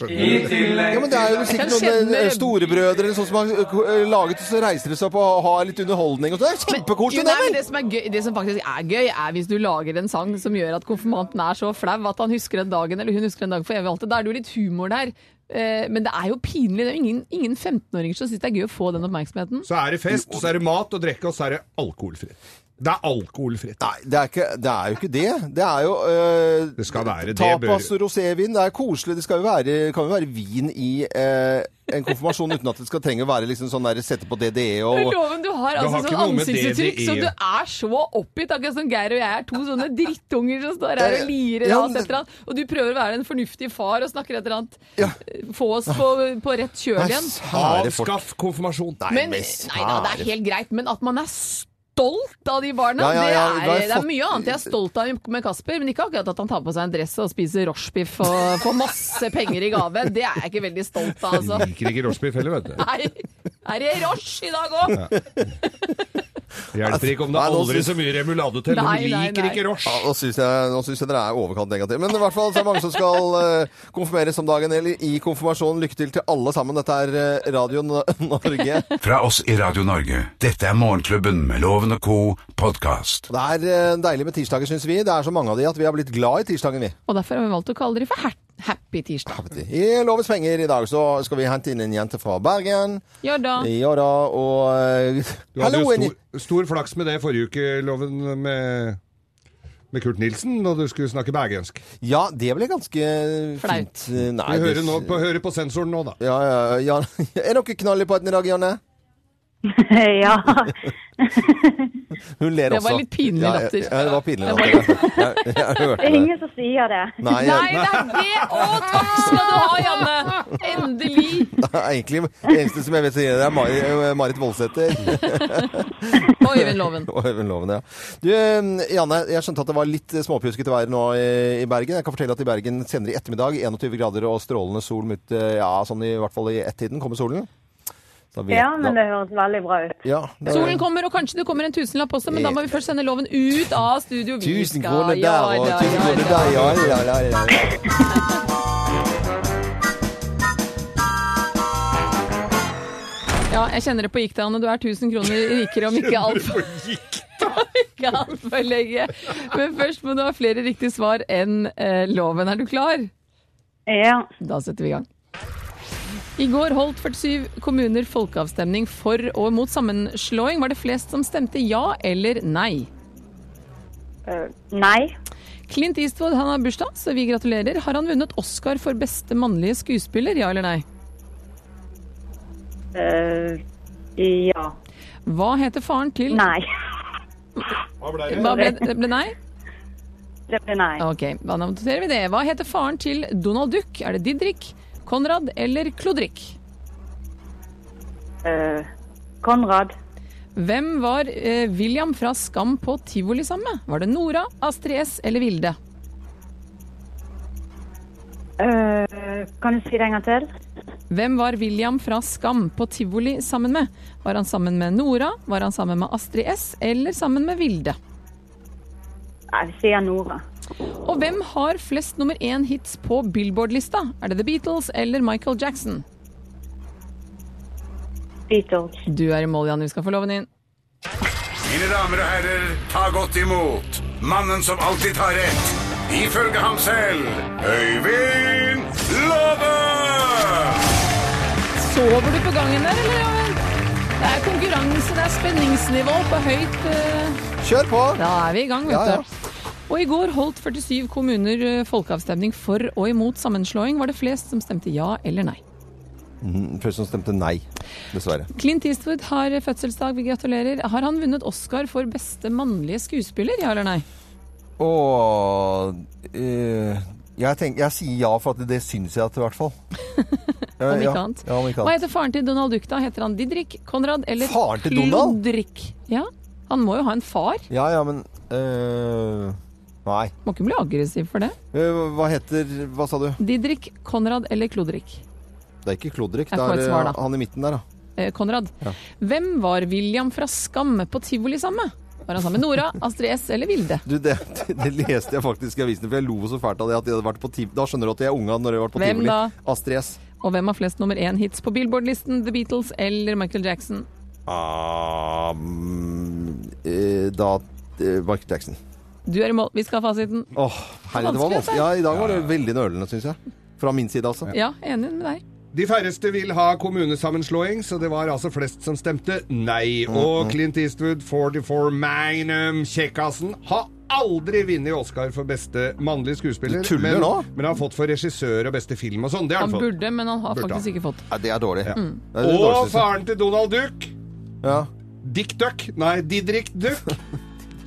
[SPEAKER 9] I tillegg
[SPEAKER 3] Ja, men Det er jo sikkert
[SPEAKER 4] Jeg
[SPEAKER 3] noen
[SPEAKER 4] kjenner-
[SPEAKER 3] eh, storebrødre eller sånn som har eh, ko- eh, laget så reiser de seg opp og har litt underholdning. og sånn. Det er
[SPEAKER 4] Jo,
[SPEAKER 3] kjempekoselig!
[SPEAKER 4] nei, men
[SPEAKER 3] det, vel?
[SPEAKER 4] det, som er gøy, det som faktisk er gøy, er hvis du lager en sang som gjør at konfirmanten er så flau at han husker den dagen eller hun husker den dagen for evig og alltid. Da er det jo litt humor der. Eh, Men det er jo pinlig. Det er jo ingen, ingen 15-åringer som syns det er gøy å få den oppmerksomheten.
[SPEAKER 6] Så er det fest, så er det mat og drikke, og så er det alkoholfritt. Det er alkoholfritt.
[SPEAKER 3] Nei, det er, ikke, det er jo ikke det. Det er jo eh,
[SPEAKER 6] Det skal være det,
[SPEAKER 3] tapas
[SPEAKER 6] bør-
[SPEAKER 3] og rosévin. Det er koselig. Det skal jo være, kan jo være vin i eh, en konfirmasjon uten at det skal trenge å være liksom sånn der, sette på DDE og
[SPEAKER 4] Loven, du har altså
[SPEAKER 6] har ikke
[SPEAKER 4] sånn
[SPEAKER 6] noe med
[SPEAKER 4] ansiktsuttrykk
[SPEAKER 6] DDE.
[SPEAKER 4] så du er så oppgitt, akkurat som Geir og jeg er to sånne drittunger som står her
[SPEAKER 3] Det-
[SPEAKER 4] og lirer
[SPEAKER 3] ja,
[SPEAKER 4] av oss et eller annet. Og du prøver å være en fornuftig far og snakker et eller annet Eh,
[SPEAKER 3] Ja.
[SPEAKER 4] Få oss på, på rett kjøl
[SPEAKER 3] Nei,
[SPEAKER 4] igjen.
[SPEAKER 3] sære folk.
[SPEAKER 6] Avskaff konfirmasjon.
[SPEAKER 4] Men, eh,
[SPEAKER 3] men
[SPEAKER 4] nei da, det
[SPEAKER 3] sære
[SPEAKER 4] er helt greit, men at man er stolt av de barna,
[SPEAKER 3] Ja, ja, ja,
[SPEAKER 4] det,
[SPEAKER 3] da har
[SPEAKER 4] er,
[SPEAKER 3] jeg
[SPEAKER 4] det er
[SPEAKER 3] fått-
[SPEAKER 4] mye annet jeg er stolt av med Kasper. Men ikke akkurat at han tar på seg en dress og spiser rochebiff og får masse penger i gave. Det er jeg ikke veldig stolt av, altså.
[SPEAKER 6] Jeg liker ikke rochebiff heller, vet du.
[SPEAKER 4] Nei, er det roche i dag òg?
[SPEAKER 6] Det hjelper ikke om det
[SPEAKER 3] Nei,
[SPEAKER 6] er
[SPEAKER 3] nå
[SPEAKER 6] aldri
[SPEAKER 3] synes-
[SPEAKER 6] så mye remulade til.
[SPEAKER 4] Nei,
[SPEAKER 6] Hun
[SPEAKER 4] nei,
[SPEAKER 6] liker
[SPEAKER 4] nei.
[SPEAKER 6] ikke roche.
[SPEAKER 3] Ja, nå syns jeg, nå synes jeg dere er i overkant negative. Men i hvert fall så er det mange som skal eh, konfirmeres om dagen, eller i konfirmasjonen. Lykke til til alle sammen. Dette er eh, Radio N- Norge.
[SPEAKER 2] Fra oss i Radio Norge. Dette er Morgenklubben med Loven og co. podkast.
[SPEAKER 3] Det er eh, deilig med tirsdager, syns vi. Det er så mange av de at vi har blitt glad i tirsdagen, vi.
[SPEAKER 4] Og derfor har vi valgt å kalle dere for her- Happy tirsdag.
[SPEAKER 3] I Lovens penger i dag så skal vi hente inn en jente fra Bergen.
[SPEAKER 4] Ja da.
[SPEAKER 3] Ja da, og eh,
[SPEAKER 6] Du hadde
[SPEAKER 3] Hallo,
[SPEAKER 6] jo
[SPEAKER 3] en
[SPEAKER 6] stor, stor flaks med det forrige uke, Loven, med, med Kurt Nilsen, når du skulle snakke bergensk.
[SPEAKER 3] Ja, det ble ganske
[SPEAKER 4] Flaut.
[SPEAKER 3] fint. Eh, Nei,
[SPEAKER 6] Vi hører,
[SPEAKER 3] det-
[SPEAKER 6] nå, på, hører på sensoren nå, da.
[SPEAKER 3] Ja, ja, ja. Er dere knall i podden i dag, Janne?
[SPEAKER 10] ja.
[SPEAKER 3] Hun ler
[SPEAKER 4] Det
[SPEAKER 3] også.
[SPEAKER 4] var litt pinlig
[SPEAKER 3] Ja,
[SPEAKER 4] latter.
[SPEAKER 3] Ja, det var pinlig
[SPEAKER 4] Det var
[SPEAKER 3] latter. Jeg, jeg, hørte
[SPEAKER 10] Det er
[SPEAKER 3] det.
[SPEAKER 10] ingen som sier det.
[SPEAKER 3] Nei,
[SPEAKER 4] Nei,
[SPEAKER 3] jeg,
[SPEAKER 4] det er det! Å, takk skal du ha, Janne! Endelig.
[SPEAKER 3] egentlig det eneste som jeg vet som gjelder, er Mari, eh, Marit Voldsæter
[SPEAKER 4] Og Øyvind Loven.
[SPEAKER 3] og Øyvind Loven. Ja. Du, eh, Janne, jeg skjønte at det var litt eh, småpjuskete vær nå i, i Bergen. Jeg kan fortelle at i Bergen senere i ettermiddag 21 grader og strålende sol mot eh, Ja, sånn i hvert fall i ett-tiden kommer solen. Da vet-
[SPEAKER 10] Ja, men
[SPEAKER 3] da-
[SPEAKER 10] det høres veldig bra ut.
[SPEAKER 3] ja, det-
[SPEAKER 4] Solen kommer, og kanskje det kommer en tusenlapp også, men da må vi først sende loven ut av studio. Vi
[SPEAKER 3] Tusen
[SPEAKER 4] skal-
[SPEAKER 3] kroner
[SPEAKER 4] ja,
[SPEAKER 3] der og
[SPEAKER 4] ja,
[SPEAKER 3] tusen
[SPEAKER 4] ja,
[SPEAKER 3] kroner
[SPEAKER 4] ja.
[SPEAKER 3] der, ja, ja, ja, ja, ja.
[SPEAKER 4] Ja, jeg kjenner det på gikk det, Anne. Du er 1000 kroner rikere om ikke altfor ikke alt for lenge. Men først må du ha flere riktige svar enn eh, loven. Er du klar?
[SPEAKER 10] Ja.
[SPEAKER 4] Da setter vi i gang. I går holdt 47 kommuner folkeavstemning for og mot sammenslåing. Var det flest som stemte ja eller nei?
[SPEAKER 10] Eh, Nei.
[SPEAKER 4] Clint Eastwood han har bursdag, så vi gratulerer. Har han vunnet Oscar for beste mannlige skuespiller, ja eller nei?
[SPEAKER 10] Eh, Ja.
[SPEAKER 4] Hva heter faren til
[SPEAKER 10] Nei.
[SPEAKER 4] Hva ble, det ble nei?
[SPEAKER 10] Det blir nei.
[SPEAKER 4] Ok, da noterer vi det. Hva heter faren til Donald Duck? Er det Didrik, Konrad eller Klodrik?
[SPEAKER 10] Eh, Konrad.
[SPEAKER 4] Hvem var eh, William fra Skam på tivoli sammen med? Var det Nora, Astrid S eller Vilde?
[SPEAKER 10] Eh, Kan du si det en gang til?
[SPEAKER 4] Hvem var William fra Skam på tivoli sammen med? Var han sammen med Nora, var han sammen med Astrid S eller sammen med Vilde?
[SPEAKER 10] Nei, vi sier Nora.
[SPEAKER 4] Og hvem har flest nummer én hits på Billboard-lista? Er det The Beatles eller Michael Jackson?
[SPEAKER 10] Beatles.
[SPEAKER 4] Du er i mål, Janne. Vi skal få loven inn.
[SPEAKER 2] Mine damer og herrer, ta godt imot mannen som alltid tar rett. Ifølge ham selv Øyvind Låve!
[SPEAKER 4] Sover du på gangen der, eller? Joven? Det er konkurranse, det er spenningsnivå på høyt eh,
[SPEAKER 3] Kjør på!
[SPEAKER 4] Da er vi i gang, vet
[SPEAKER 3] Ja, ja.
[SPEAKER 4] du. Og i går holdt 47 kommuner eh, folkeavstemning for og imot sammenslåing. Var det flest som stemte ja eller nei?
[SPEAKER 3] Først som stemte nei, dessverre.
[SPEAKER 4] Clint Eastwood har fødselsdag, vi gratulerer. Har han vunnet Oscar for beste mannlige skuespiller, ja eller nei?
[SPEAKER 3] Åh eh, jeg, tenker, jeg sier ja, for at det syns jeg at i hvert fall. Ja,
[SPEAKER 4] Om
[SPEAKER 3] ja.
[SPEAKER 4] ikke annet.
[SPEAKER 3] Ja, om ikke
[SPEAKER 4] Hva
[SPEAKER 3] annet.
[SPEAKER 4] heter faren til Donald Duck, da? Heter han Didrik, Konrad eller
[SPEAKER 3] Faren til Donald?
[SPEAKER 4] Klodrik? Ja, han må jo ha en far.
[SPEAKER 3] Ja, ja, men eh, Nei.
[SPEAKER 4] Må ikke bli aggressiv for det.
[SPEAKER 3] Eh, Hva heter Hva sa du?
[SPEAKER 4] Didrik, Konrad eller Klodrik?
[SPEAKER 3] Det er ikke Klodrik.
[SPEAKER 4] Jeg
[SPEAKER 3] Det
[SPEAKER 4] får
[SPEAKER 3] er
[SPEAKER 4] et svar,
[SPEAKER 3] eh,
[SPEAKER 4] da.
[SPEAKER 3] han i midten der, da.
[SPEAKER 4] Eh, Konrad. Hvem var William fra Skam på tivoli sammen med? Var han sammen med Nora, Astrid S eller Vilde?
[SPEAKER 3] Du, det, det leste jeg faktisk i avisene, for jeg lo så fælt av det at de hadde vært på tiv... Da skjønner du at de er unga når de har vært på
[SPEAKER 4] Hvem
[SPEAKER 3] tivoli.
[SPEAKER 4] da?
[SPEAKER 3] Astrid S.
[SPEAKER 4] Og hvem har flest nummer én-hits på Billboard-listen? The Beatles eller Michael Jackson?
[SPEAKER 3] Ah, mm, eh, da eh, Michael Jackson.
[SPEAKER 4] Du er i mål. Vi skal ha fasiten.
[SPEAKER 3] Åh, herre, det
[SPEAKER 4] Vanskelig,
[SPEAKER 3] var
[SPEAKER 4] altså.
[SPEAKER 3] vanskelig. Ja, I dag var det veldig nølende, syns jeg. Fra min side, altså.
[SPEAKER 4] Ja, enig med deg.
[SPEAKER 6] De færreste vil ha kommunesammenslåing, så det var altså flest som stemte nei. Og Clint Eastwood, 44 Magnum, kjekkasen, har aldri vunnet Oscar for beste mannlige skuespiller.
[SPEAKER 3] Du tuller
[SPEAKER 6] men,
[SPEAKER 3] nå?
[SPEAKER 6] men har fått for regissør og beste film og sånn. Det har
[SPEAKER 4] Han
[SPEAKER 6] han fått.
[SPEAKER 4] burde, men han har
[SPEAKER 6] Burde
[SPEAKER 4] faktisk
[SPEAKER 6] han.
[SPEAKER 4] ikke fått.
[SPEAKER 3] Ja, det er dårlig.
[SPEAKER 4] Mm.
[SPEAKER 3] Det er det
[SPEAKER 6] Og
[SPEAKER 3] dårligste, synes jeg.
[SPEAKER 6] faren til Donald Duck,
[SPEAKER 3] Ja.
[SPEAKER 6] Dick Duck. Nei, Didrik Duck.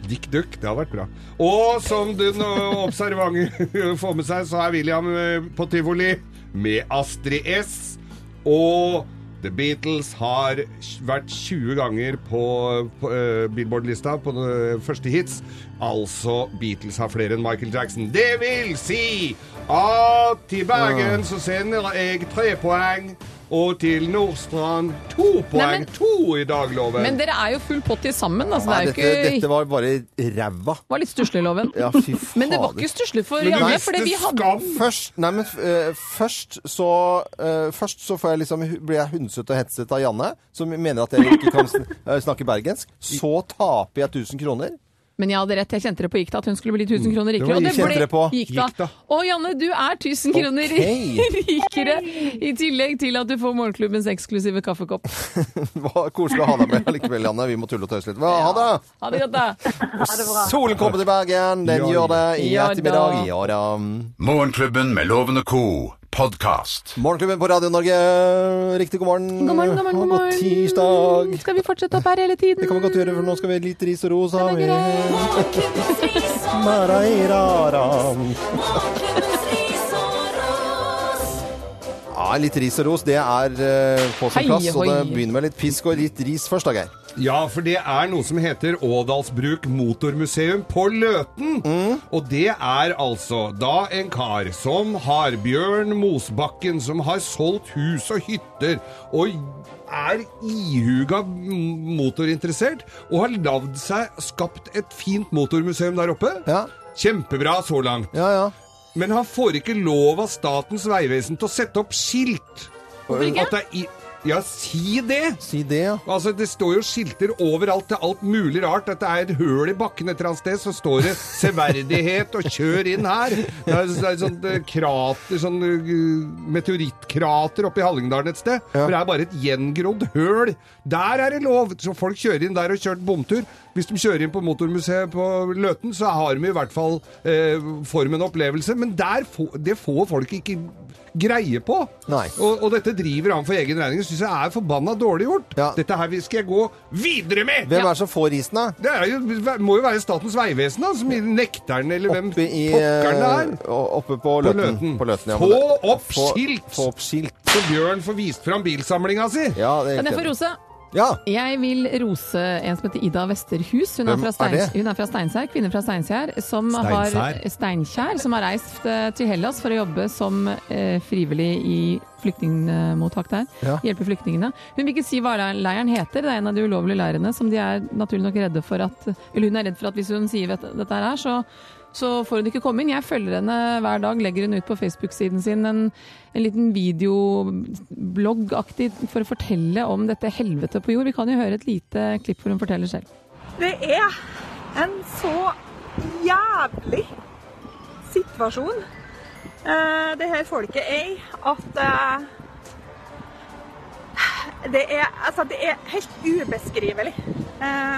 [SPEAKER 6] Dick Duck, det hadde vært bra. Og som den øh, observante får med seg, så er William øh, på tivoli med Astrid S. Og The Beatles har sj- vært 20 ganger på, på øh, Billboard-lista på øh, første hits. Altså Beatles har flere enn Michael Jackson. Det vil si at til Bergen så sender jeg tre poeng. Og til Nordstrand to poeng.
[SPEAKER 4] men-
[SPEAKER 6] to i dag, Loven.
[SPEAKER 4] Men dere er jo full pott til sammen, altså. Det
[SPEAKER 3] Nei,
[SPEAKER 4] er jo
[SPEAKER 3] dette, dette
[SPEAKER 4] ikke
[SPEAKER 3] var bare ræva.
[SPEAKER 4] Det var litt stusslig, Loven.
[SPEAKER 3] Ja, fy fader.
[SPEAKER 4] Men det var ikke stusslig for
[SPEAKER 6] Men du
[SPEAKER 4] Janne,
[SPEAKER 6] visste
[SPEAKER 4] fordi vi hadde
[SPEAKER 6] skam!
[SPEAKER 3] Først, nei, men, eh, først, så, eh, først så får jeg liksom, blir jeg hundset og hetset av Janne, som mener at jeg ikke kan sn eh, snakke bergensk. Så taper jeg 1000 kroner.
[SPEAKER 4] Men jeg hadde rett, jeg kjente det på gikk da at hun skulle bli 1000 kroner rikere.
[SPEAKER 3] var
[SPEAKER 4] Og Mm. det
[SPEAKER 3] jeg kjente
[SPEAKER 4] ble
[SPEAKER 3] det på.
[SPEAKER 4] gikk da.
[SPEAKER 6] Gikk da.
[SPEAKER 4] Og Janne, du er 1000 kroner
[SPEAKER 3] Ok.
[SPEAKER 4] rikere, i tillegg til at du får morgenklubbens eksklusive kaffekopp.
[SPEAKER 3] Hva Koselig å ha deg med allikevel, Janne. Vi må tulle og tøyse litt. Hva, ha det!
[SPEAKER 4] Ha det godt, da.
[SPEAKER 3] Solen kommer til Bergen. Den
[SPEAKER 6] Ja,
[SPEAKER 3] gjør det i
[SPEAKER 4] Ja da.
[SPEAKER 3] ettermiddag. Ja da.
[SPEAKER 2] Morgenklubben med Loven og co. podkast.
[SPEAKER 3] Morgenklubben på Radio Norge. Riktig god morgen.
[SPEAKER 4] God morgen, god morgen, god
[SPEAKER 3] Og
[SPEAKER 4] morgen.
[SPEAKER 3] tirsdag.
[SPEAKER 4] Skal vi fortsette opp her hele tiden?
[SPEAKER 3] Det kan vi godt gjøre, for nå skal vi litt ris og ros.
[SPEAKER 4] Det er greit.
[SPEAKER 1] Morgenklubbens ris og
[SPEAKER 3] Marairaram.
[SPEAKER 1] Morgenklubbens ris og ros.
[SPEAKER 3] Ja, litt ris og ros, det er eh, på sin
[SPEAKER 4] Hei,
[SPEAKER 3] plass. Og det
[SPEAKER 4] hoi.
[SPEAKER 3] begynner med litt pisk og litt ris først, da, Geir.
[SPEAKER 6] Ja, for det er noe som heter Ådalsbruk Motormuseum på Løten.
[SPEAKER 4] Mm.
[SPEAKER 6] Og det er altså da en kar som har Bjørn Mosbakken, som har solgt hus og hytter, og er ihuga motorinteressert, og har lagd seg, skapt et fint motormuseum der oppe.
[SPEAKER 3] Ja.
[SPEAKER 6] Kjempebra så langt.
[SPEAKER 3] Ja, ja.
[SPEAKER 6] Men han får ikke lov av Statens vegvesen til å sette opp skilt.
[SPEAKER 4] Hvorfor ikke?
[SPEAKER 6] At det er i... Ja, si det!
[SPEAKER 3] Si det, ja.
[SPEAKER 6] Altså, Det står jo skilter overalt til alt mulig rart. Dette er et høl i bakken et eller annet sted, så står det 'severdighet' og 'kjør inn her'. Det er, det er sånn eh, krater, sånn eh, meteorittkrater oppe i Hallingdalen et sted. For det er bare et gjengrodd høl. Der er det lov! Så folk kjører inn der og kjørt bomtur. Hvis de kjører inn på motormuseet på Løten, så har de i hvert fall eh, form en opplevelse. Men der få, det får folk ikke greie på.
[SPEAKER 3] Nei.
[SPEAKER 6] Og, og dette driver han for egen regning. Syns jeg er forbanna dårlig gjort.
[SPEAKER 3] Ja.
[SPEAKER 6] Dette her skal jeg gå videre med!
[SPEAKER 3] Hvem er det som får risen, da?
[SPEAKER 6] Det er jo, må jo være Statens vegvesen, da, som nekter den, eller hvem
[SPEAKER 3] Oppe, i,
[SPEAKER 6] pokker den er.
[SPEAKER 3] eh, oppe på Løten.
[SPEAKER 6] Løten.
[SPEAKER 3] På Løten ja,
[SPEAKER 6] Få
[SPEAKER 3] men det-
[SPEAKER 6] opp
[SPEAKER 3] få-
[SPEAKER 6] skilt!
[SPEAKER 3] Få opp skilt.
[SPEAKER 6] Så Bjørn får vist fram bilsamlinga si.
[SPEAKER 3] eh, Ja, det er
[SPEAKER 4] Kan jeg få
[SPEAKER 3] riktig.
[SPEAKER 4] rose?
[SPEAKER 3] Ja.
[SPEAKER 4] Jeg vil rose en som heter Ida Westerhus. Hun er
[SPEAKER 3] Hvem
[SPEAKER 4] fra,
[SPEAKER 3] er det?
[SPEAKER 4] Steins hun er fra Steinkjer, kvinne fra Steinkjer. Som har,
[SPEAKER 6] Steinkjer?
[SPEAKER 4] Steinkjer, som har reist eh, til Hellas for å jobbe som eh, frivillig i flyktningmottak der.
[SPEAKER 3] Ja.
[SPEAKER 4] Hjelpe flyktningene. Hun vil ikke si hva le- leiren heter, det er en av de ulovlige leirene som de er naturlig nok redde for at Eller hun er redd for at hvis hun sier vet, dette her, så så får hun ikke komme inn. Jeg følger henne hver dag, legger hun ut på Facebook-siden sin en, en liten videobloggaktig for å fortelle om dette helvetet på jord. Vi kan jo høre et lite klipp hvor hun forteller selv.
[SPEAKER 11] Det er en så jævlig situasjon eh, det her folket er i, at eh, det er, altså, det er helt ubeskrivelig. Eh,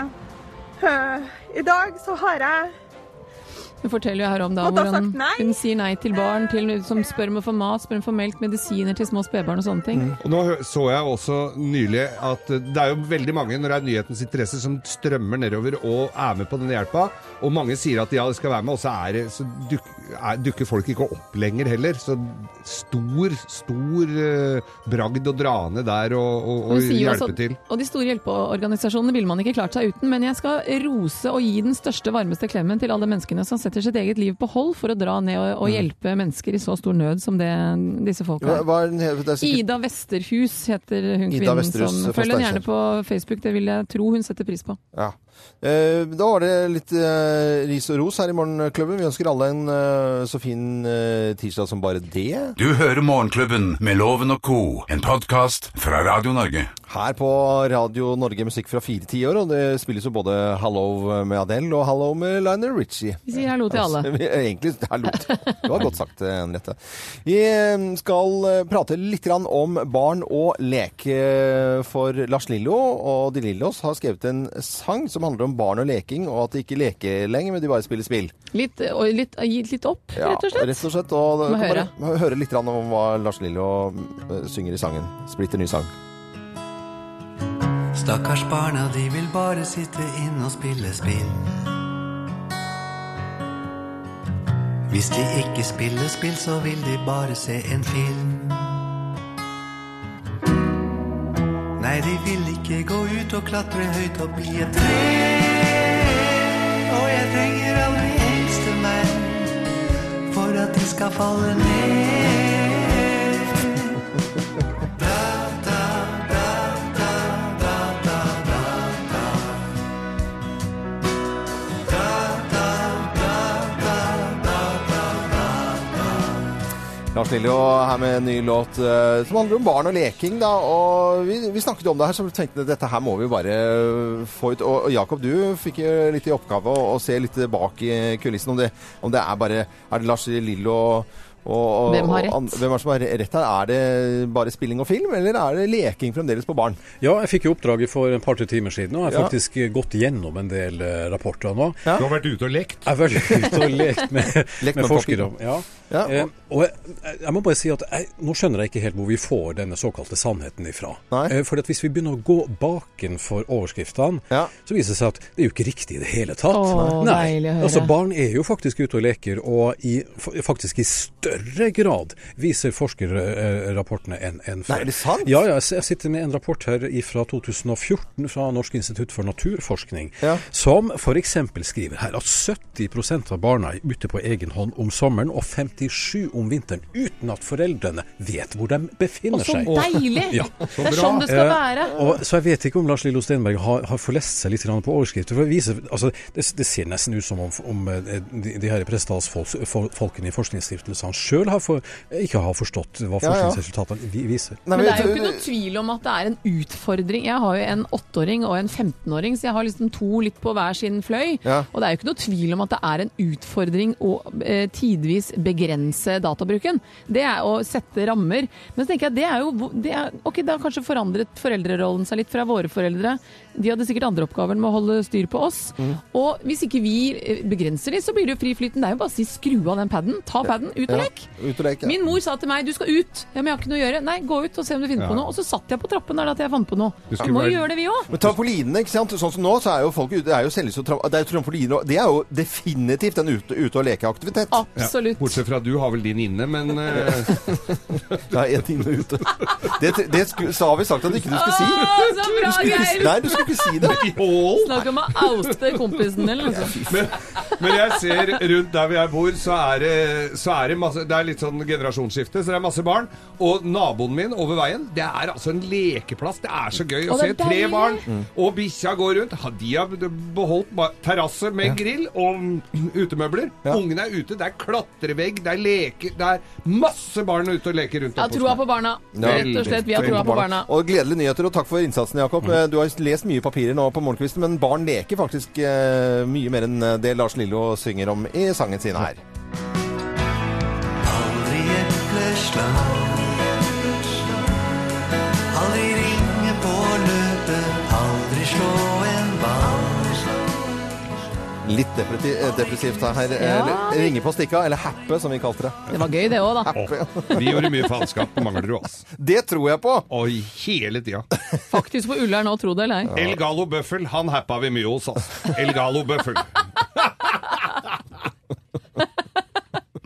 [SPEAKER 11] eh, I dag så har jeg
[SPEAKER 4] Hun forteller jo her om da
[SPEAKER 11] Måtte ha
[SPEAKER 4] hvordan
[SPEAKER 11] sagt nei. Eh.
[SPEAKER 4] hun sier nei til barn til, som spør om å få mat, spør om å få melk, medisiner til små spedbarn og sånne
[SPEAKER 3] Mm.
[SPEAKER 4] ting.
[SPEAKER 6] Og nå hø- så jeg også nylig at eh, det er jo veldig mange når det er nyhetens interesse som strømmer nedover og er med på den hjelpa. Og mange sier at ja, de skal være med, og så, er det, så duk, er, dukker folk ikke opp lenger heller. Så stor, stor eh, bragd å dra ned der og, og,
[SPEAKER 4] Og,
[SPEAKER 6] og
[SPEAKER 4] hun sier jo
[SPEAKER 6] hjelpe
[SPEAKER 4] også-
[SPEAKER 6] til.
[SPEAKER 4] og de store hjelpeorganisasjonene ville man ikke klart seg uten, men jeg skal rose og gi den største, varmeste klemmen til alle menneskene som setter sitt eget liv på hold for å dra ned og, og hjelpe mennesker i så stor nød som det disse folka
[SPEAKER 3] Mm. Hva,
[SPEAKER 4] er.
[SPEAKER 3] hva er den he- det er sikkert
[SPEAKER 4] Ida Westerhus heter hun
[SPEAKER 3] Ida
[SPEAKER 4] kvinnen
[SPEAKER 3] Westerhus eh,
[SPEAKER 4] som
[SPEAKER 3] fra
[SPEAKER 4] Følg henne
[SPEAKER 3] Steinkjer.
[SPEAKER 4] gjerne på Facebook, det vil jeg tro hun setter pris på.
[SPEAKER 3] ja. Eh, Da var det litt eh, ris og ros her i Morgenklubben. Vi ønsker alle en eh, så fin eh, tirsdag som bare det.
[SPEAKER 2] Du hører Morgenklubben med Loven og Co., en podkast fra Radio Norge.
[SPEAKER 3] Her på Radio Norge musikk fra fire tiår, og det spilles jo både Hallo med Adele og Hallo med Lionel Richie.
[SPEAKER 4] Vi sier hallo til alle.
[SPEAKER 3] Altså, vi- Egentlig hallo. Det var godt sagt, eh, Henriette. Vi eh, skal eh, prate litt grann om barn og leke for Lars Lillo. Og De Lillos har skrevet en sang som handler om barn og leking, og at de ikke leker lenger, men de bare spiller spill.
[SPEAKER 4] Litt, og litt, gitt litt opp, rett og slett.
[SPEAKER 3] Rett og slett. Og eh,
[SPEAKER 4] Må
[SPEAKER 3] kan
[SPEAKER 4] høre.
[SPEAKER 3] bare høre litt grann om hva Lars Lillo eh, synger i sangen. Splitter ny sang.
[SPEAKER 12] Stakkars barna, de vil bare sitte inne og spille spill. Hvis de ikke spiller spill, så vil de bare se en film. Nei, de vil ikke gå ut og klatre høyt opp i et tre. Og jeg trenger aldri engste meg for at de skal falle ned.
[SPEAKER 3] Lars Lillo her med en ny låt eh, som handler om barn og leking, da. Og vi, vi snakket om det her, så vi tenkte dette her må vi bare eh, få ut. Og og Jakob, du fikk jo litt i oppgave å, å se litt bak i kulissen om det, om det er bare Er det Lars Lillo og, og
[SPEAKER 4] Hvem har rett?
[SPEAKER 3] og an- hvem er det som har rett her? Er det bare spilling og film, eller er det leking fremdeles på barn?
[SPEAKER 5] Ja, jeg fikk jo oppdraget for et par-tre timer siden, og jeg har
[SPEAKER 3] Ja.
[SPEAKER 5] faktisk eh, gått gjennom en del eh, rapporter nå.
[SPEAKER 6] Du har vært ute og lekt?
[SPEAKER 5] Jeg har vært ute og lekt med,
[SPEAKER 3] Lekt
[SPEAKER 5] med,
[SPEAKER 3] med
[SPEAKER 5] forskere.
[SPEAKER 3] papir.
[SPEAKER 5] Ja.
[SPEAKER 3] Ja, og-
[SPEAKER 5] Eh, og jeg, jeg må bare si at jeg, nå skjønner jeg ikke helt hvor vi får denne såkalte sannheten ifra.
[SPEAKER 3] Nei.
[SPEAKER 5] Eh, fordi at hvis vi begynner å gå bakenfor overskriftene,
[SPEAKER 3] Ja.
[SPEAKER 5] så viser det seg at det er jo ikke riktig i det hele tatt.
[SPEAKER 4] Åh, deilig å høre.
[SPEAKER 5] Altså, barn er jo faktisk ute og leker, og i, fa- faktisk i større grad viser forskerrapportene enn enn før.
[SPEAKER 3] Nei, er det sant?
[SPEAKER 5] Ja, ja, jeg s- jeg sitter med en rapport her fra 2014 fra Norsk institutt for naturforskning,
[SPEAKER 3] Ja.
[SPEAKER 5] som f.eks. skriver her at 70 av barna er ute på egen hånd om sommeren og 57 om vinteren, uten at foreldrene vet hvor de befinner
[SPEAKER 4] Og så
[SPEAKER 5] seg.
[SPEAKER 4] deilig!
[SPEAKER 5] Ja.
[SPEAKER 4] Det er sånn det skal være.
[SPEAKER 5] Eh, og, så jeg vet ikke om Lars Lillo Stenberg har, har forlest seg litt grann på overskrifter. For det, viser, altså, det, det ser nesten ut som om, om eh, de, de her prestasfolkene i forskningsstiftelsene sjøl har for, ikke har forstått hva
[SPEAKER 3] Ja, ja.
[SPEAKER 5] forskningsresultatene vi- viser.
[SPEAKER 3] Nei,
[SPEAKER 4] Men det er
[SPEAKER 3] jeg
[SPEAKER 4] jo
[SPEAKER 3] tror-
[SPEAKER 4] ikke noe tvil om at det er en utfordring. Jeg har jo en åtteåring og en 15-åring, så jeg har liksom to litt på hver sin fløy.
[SPEAKER 3] Ja.
[SPEAKER 4] Og det er jo ikke noe tvil om at det er en utfordring å eh, tidvis begrense databruken. Det er å sette rammer. Men så tenker jeg det er jo det er, Ok, da har kanskje forandret foreldrerollen seg litt fra våre foreldre. De hadde sikkert andre oppgaver med å holde styr på oss. Og hvis ikke vi eh, begrenser de, så blir det jo fri flyten. Det er jo bare å si skru av den paden, ta paden, ut og
[SPEAKER 3] Ja,
[SPEAKER 4] lek.
[SPEAKER 3] Ut og leke.
[SPEAKER 4] Min mor sa til meg 'du skal ut'. Ja, men jeg har ikke noe å gjøre. Nei, gå ut og se om du finner på noe. Og så satt jeg på trappen der da til jeg fant på noe.
[SPEAKER 6] Du
[SPEAKER 4] Vi
[SPEAKER 6] skulle
[SPEAKER 4] må
[SPEAKER 6] være-
[SPEAKER 4] jo gjøre det, vi òg.
[SPEAKER 3] Men trampolinene, ikke sant? Sånn som nå, så er jo folk ute, det er jo selvlyst og tram- det er jo trampoliner, og det er jo definitivt en ute, ute og lekeaktivitet.
[SPEAKER 4] Absolutt.
[SPEAKER 6] Bortsett fra du har vel din inne, men eh,
[SPEAKER 3] Det er en time ute. Det, det skulle, så har vi sagt at ikke du skulle si.
[SPEAKER 4] Å, så bra, Geir!
[SPEAKER 3] Nei, du skulle ikke si det.
[SPEAKER 6] Ål.
[SPEAKER 4] Snakk om å oute kompisen din, liksom.
[SPEAKER 6] Men, men jeg ser rundt der hvor jeg bor, så er det, så er det masse Det er litt sånn generasjonsskifte, så det er masse barn. Og naboen min over veien, det er altså en lekeplass. Det er så gøy å
[SPEAKER 4] Å,
[SPEAKER 6] se
[SPEAKER 4] det er
[SPEAKER 6] tre
[SPEAKER 4] deilig. Mm.
[SPEAKER 6] barn, og bikkja går rundt. Ha- De har beholdt ba- terrasse med grill og mm, utemøbler. Ungene er ute, det er klatrevegg, det er leker Det er masse barn ute og leker rundt
[SPEAKER 4] Jeg har
[SPEAKER 6] oppe hos
[SPEAKER 4] troa
[SPEAKER 6] meg.
[SPEAKER 4] på barna. Rett og slett, vi har troa på barna.
[SPEAKER 3] Og gledelige nyheter, og takk for innsatsen, Jakob. Du har lest mye papirer nå på morgenkvisten, men barn leker faktisk eh, mye mer enn det Lars Lillo synger om i sangen sin her.
[SPEAKER 12] Aldri epleslang Aldri ringe på løpet Aldri slå en ball
[SPEAKER 3] Litt depreti- eh, depressivt her.
[SPEAKER 4] Ja.
[SPEAKER 3] Eller Ringe på stikka, eller happe, som vi kalte det.
[SPEAKER 4] Det var gøy, det òg, da.
[SPEAKER 6] Vi gjorde mye faenskap på Manglerud, ass.
[SPEAKER 3] Det tror jeg på!
[SPEAKER 6] Oi, hele tida.
[SPEAKER 4] Faktisk på Ullern òg, tro det eller ei.
[SPEAKER 6] El Galo Bøffel, han happa vi mye hos, ass. El Galo Bøffel.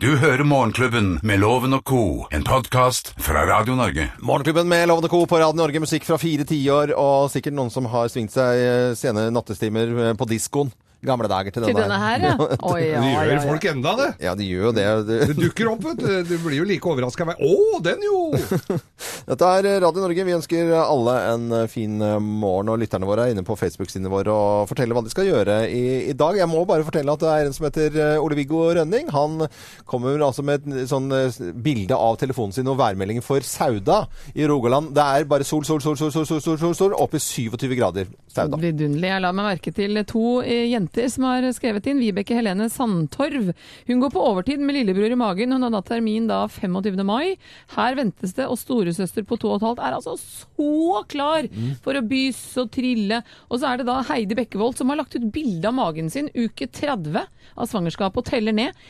[SPEAKER 2] Du hører Morgenklubben med Loven og Co., en podkast fra Radio Norge.
[SPEAKER 3] Morgenklubben med Lovende Co. på Radio Norge, musikk fra fire tiår, og sikkert noen som har svingt seg eh, sene nattestimer eh, på diskoen gamle dager til
[SPEAKER 4] Til
[SPEAKER 3] denne,
[SPEAKER 4] denne her, ja. Oi, ja,
[SPEAKER 6] Det gjør
[SPEAKER 4] ja, ja.
[SPEAKER 6] folk enda, det.
[SPEAKER 3] Ja, de gjør jo det.
[SPEAKER 6] Det dukker opp, vet du. Du blir jo like overraska hver Å, den jo!
[SPEAKER 3] Dette er Radio Norge. Vi ønsker alle en eh, fin morgen. Og lytterne våre er inne på Facebook-sidene våre og forteller hva de skal gjøre i, i dag. Jeg må bare fortelle at det er en som heter eh, Ole-Viggo Rønning. Han kommer altså med et sånn eh, bilde av telefonen sin og værmeldingen for Sauda i Rogaland. Det er bare sol, sol, sol, sol, sol, sol, sol, sol, sol opp i 27 grader. Sauda.
[SPEAKER 4] Vidunderlig. Jeg la meg merke til to eh, jenter som har skrevet inn. Vibeke Helene Sandtorv. Hun går på overtid med lillebror i magen. Hun har hatt termin da 25. mai. Her ventes det, og storesøster på 2,5 er altså så klar
[SPEAKER 6] Mm.
[SPEAKER 4] for å byse og trille. Og så er det da Heidi Bekkevold som har lagt ut bilde av magen sin uke 30 av svangerskapet og teller ned.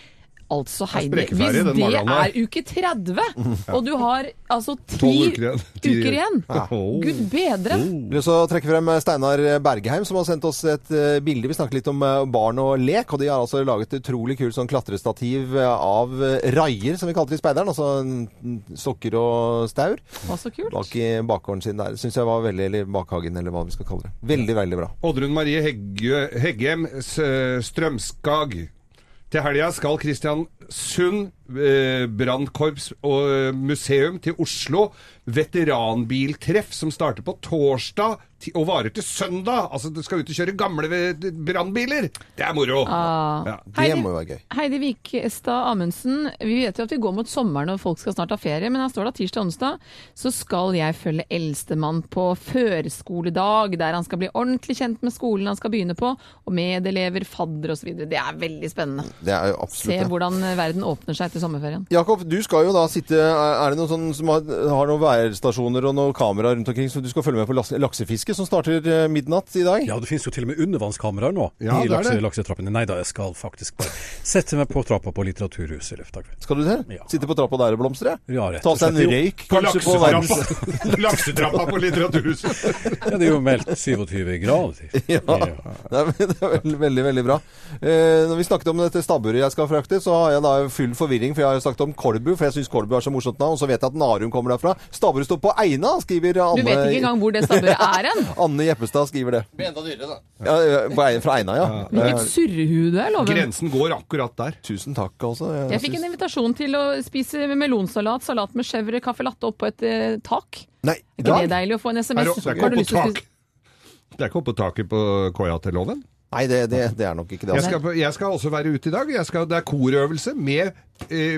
[SPEAKER 4] Altså,
[SPEAKER 6] er
[SPEAKER 4] Heidi,
[SPEAKER 6] sprekkferdig,
[SPEAKER 4] hvis
[SPEAKER 6] den
[SPEAKER 4] det
[SPEAKER 6] magen der.
[SPEAKER 4] er uke 30,
[SPEAKER 3] Ja.
[SPEAKER 4] og du har altså
[SPEAKER 6] Tolv
[SPEAKER 4] ti
[SPEAKER 6] uker igjen. Oh. Ti-
[SPEAKER 4] uker igjen
[SPEAKER 3] Ja.
[SPEAKER 4] Gud bedre!
[SPEAKER 3] Jeg vil også trekke frem Steinar Bergheim, som har sendt oss et eh, bilde. Vi snakket litt om eh, barn og lek, og de har altså laget et utrolig kult sånn klatrestativ eh, av eh, raier, som vi kalte det i speideren. Altså mm, sokker og staur.
[SPEAKER 4] Også kult.
[SPEAKER 3] Bak i bakgården sin der. Syns jeg var veldig Eller bakhagen, eller hva vi skal kalle det. Veldig, veldig bra.
[SPEAKER 6] Oddrun Marie Heggø, Heggem S- Strømskag. Til helga skal Kristiansund eh, brannkorps og eh, museum til Oslo. Veteranbiltreff som starter på torsdag ti- og varer til søndag. Altså, du skal ut og kjøre gamle ve- brannbiler! Det er moro!
[SPEAKER 4] Ah.
[SPEAKER 6] Ja.
[SPEAKER 4] Heidi- Heidi Vikestad Amundsen, vi vet jo at vi går mot sommeren og folk skal snart ha ferie, men her står det at tirsdag og onsdag så skal jeg følge eldstemann på førskoledag, der han skal bli ordentlig kjent med skolen han skal begynne på, og medelever, fadder osv. Det er veldig spennende.
[SPEAKER 3] Det er jo absolutt
[SPEAKER 4] Se
[SPEAKER 3] det.
[SPEAKER 4] hvordan verden åpner seg etter sommerferien.
[SPEAKER 3] Jakob, du skal jo da sitte eh, Er er det noen sånn som har, har noen værstasjoner og noen kamera rundt omkring, så du skal følge med på las- laksefiske som starter eh, midnatt i dag?
[SPEAKER 5] Ja, det finnes jo til og med undervannskameraer nå
[SPEAKER 3] Ja, det
[SPEAKER 5] i
[SPEAKER 3] er
[SPEAKER 5] lakse,
[SPEAKER 3] det.
[SPEAKER 5] laksetrappene. Nei da, jeg skal faktisk bare sette meg på trappa på Litteraturhuset i løpet av kvelden.
[SPEAKER 3] Skal du det? Sitte på trappa der og blomstre?
[SPEAKER 5] Ja, rett
[SPEAKER 3] Ta
[SPEAKER 5] og
[SPEAKER 3] seg en
[SPEAKER 5] slett. Jo,
[SPEAKER 3] røyk,
[SPEAKER 5] på
[SPEAKER 3] kanskje, på verdens
[SPEAKER 5] laksetrappa. Laksetrappa på
[SPEAKER 6] Litteraturhuset.
[SPEAKER 5] Ja, det er jo meldt 27 grader.
[SPEAKER 3] Ja, det er, det er veldig, veldig, veldig bra. Eh, når vi snakket om dette stabburet jeg skal frakte, så har jeg da full forvirring, for jeg har jo snakket om Kolbu, for jeg syns Kolbu er så morsomt navn, og så vet jeg at Narum kommer derfra. Stabburet står på Eina, skriver Anne
[SPEAKER 4] Du vet ikke engang hvor det stabburet er hen?
[SPEAKER 3] Anne Jeppestad skriver det.
[SPEAKER 4] Enda dyrere, da.
[SPEAKER 3] Ja, eh, på Eina, fra Eina, ja. Eh,
[SPEAKER 4] Hvilket surrehue du er, loven.
[SPEAKER 6] Grensen går akkurat der.
[SPEAKER 3] Tusen takk, altså.
[SPEAKER 4] Jeg fikk en
[SPEAKER 3] syns-
[SPEAKER 4] invitasjon til å spise melonsalat, salat med chèvre, kaffe latte oppå et eh, tak.
[SPEAKER 3] Nei,
[SPEAKER 4] Er ikke det deilig å få en
[SPEAKER 6] Er
[SPEAKER 4] SMS?
[SPEAKER 6] det- det er
[SPEAKER 4] Har
[SPEAKER 6] ikke
[SPEAKER 4] du
[SPEAKER 6] oppå
[SPEAKER 4] lyst til å spise-
[SPEAKER 6] tak. Det er ikke oppå taket på koia til loven?
[SPEAKER 3] Nei, det, det, det er nok ikke det.
[SPEAKER 6] Jeg
[SPEAKER 3] altså.
[SPEAKER 6] skal, på- jeg skal også være ute i dag. Jeg skal, det er korøvelse med eh,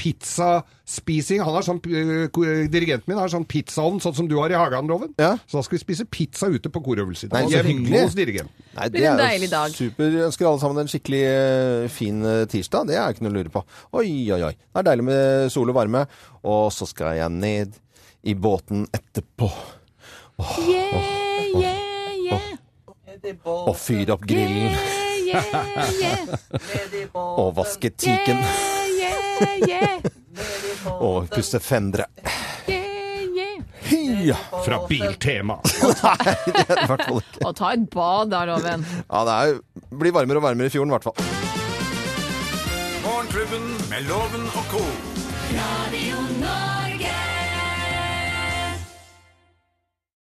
[SPEAKER 6] pizzaspising. Han har sånn, eh, ko- eh, dirigenten min har sånn pizzaovn, sånn som du har i hagen, Loven. Så da skal vi spise pizza ute på korøvelse. i dag.
[SPEAKER 3] Nei, så
[SPEAKER 6] Jeg er
[SPEAKER 3] hyggelig.
[SPEAKER 6] hos dirigenten.
[SPEAKER 3] Nei,
[SPEAKER 4] Blir en deilig dag.
[SPEAKER 3] Super. Jeg Ønsker alle sammen en skikkelig eh, fin eh, tirsdag. Det er ikke noe å lure på. Oi, oi, oi. Det er deilig med sol og varme. Og så skal jeg ned i båten etterpå
[SPEAKER 4] Yeah, yeah, yeah.
[SPEAKER 3] og fyre opp grillen.
[SPEAKER 4] Yeah, yeah,
[SPEAKER 3] og vaske tiken.
[SPEAKER 4] yeah, yeah,
[SPEAKER 3] og pusse fendre.
[SPEAKER 4] yeah, yeah.
[SPEAKER 3] Hia!
[SPEAKER 6] Fra Biltema.
[SPEAKER 3] Nei, det er i hvert fall ikke.
[SPEAKER 4] Og ta et bad da, Loven.
[SPEAKER 3] Ja, det er, jo- blir varmere og varmere i fjorden, i hvert fall.
[SPEAKER 2] Morgenklubben med Loven og co.
[SPEAKER 1] Radio Norge.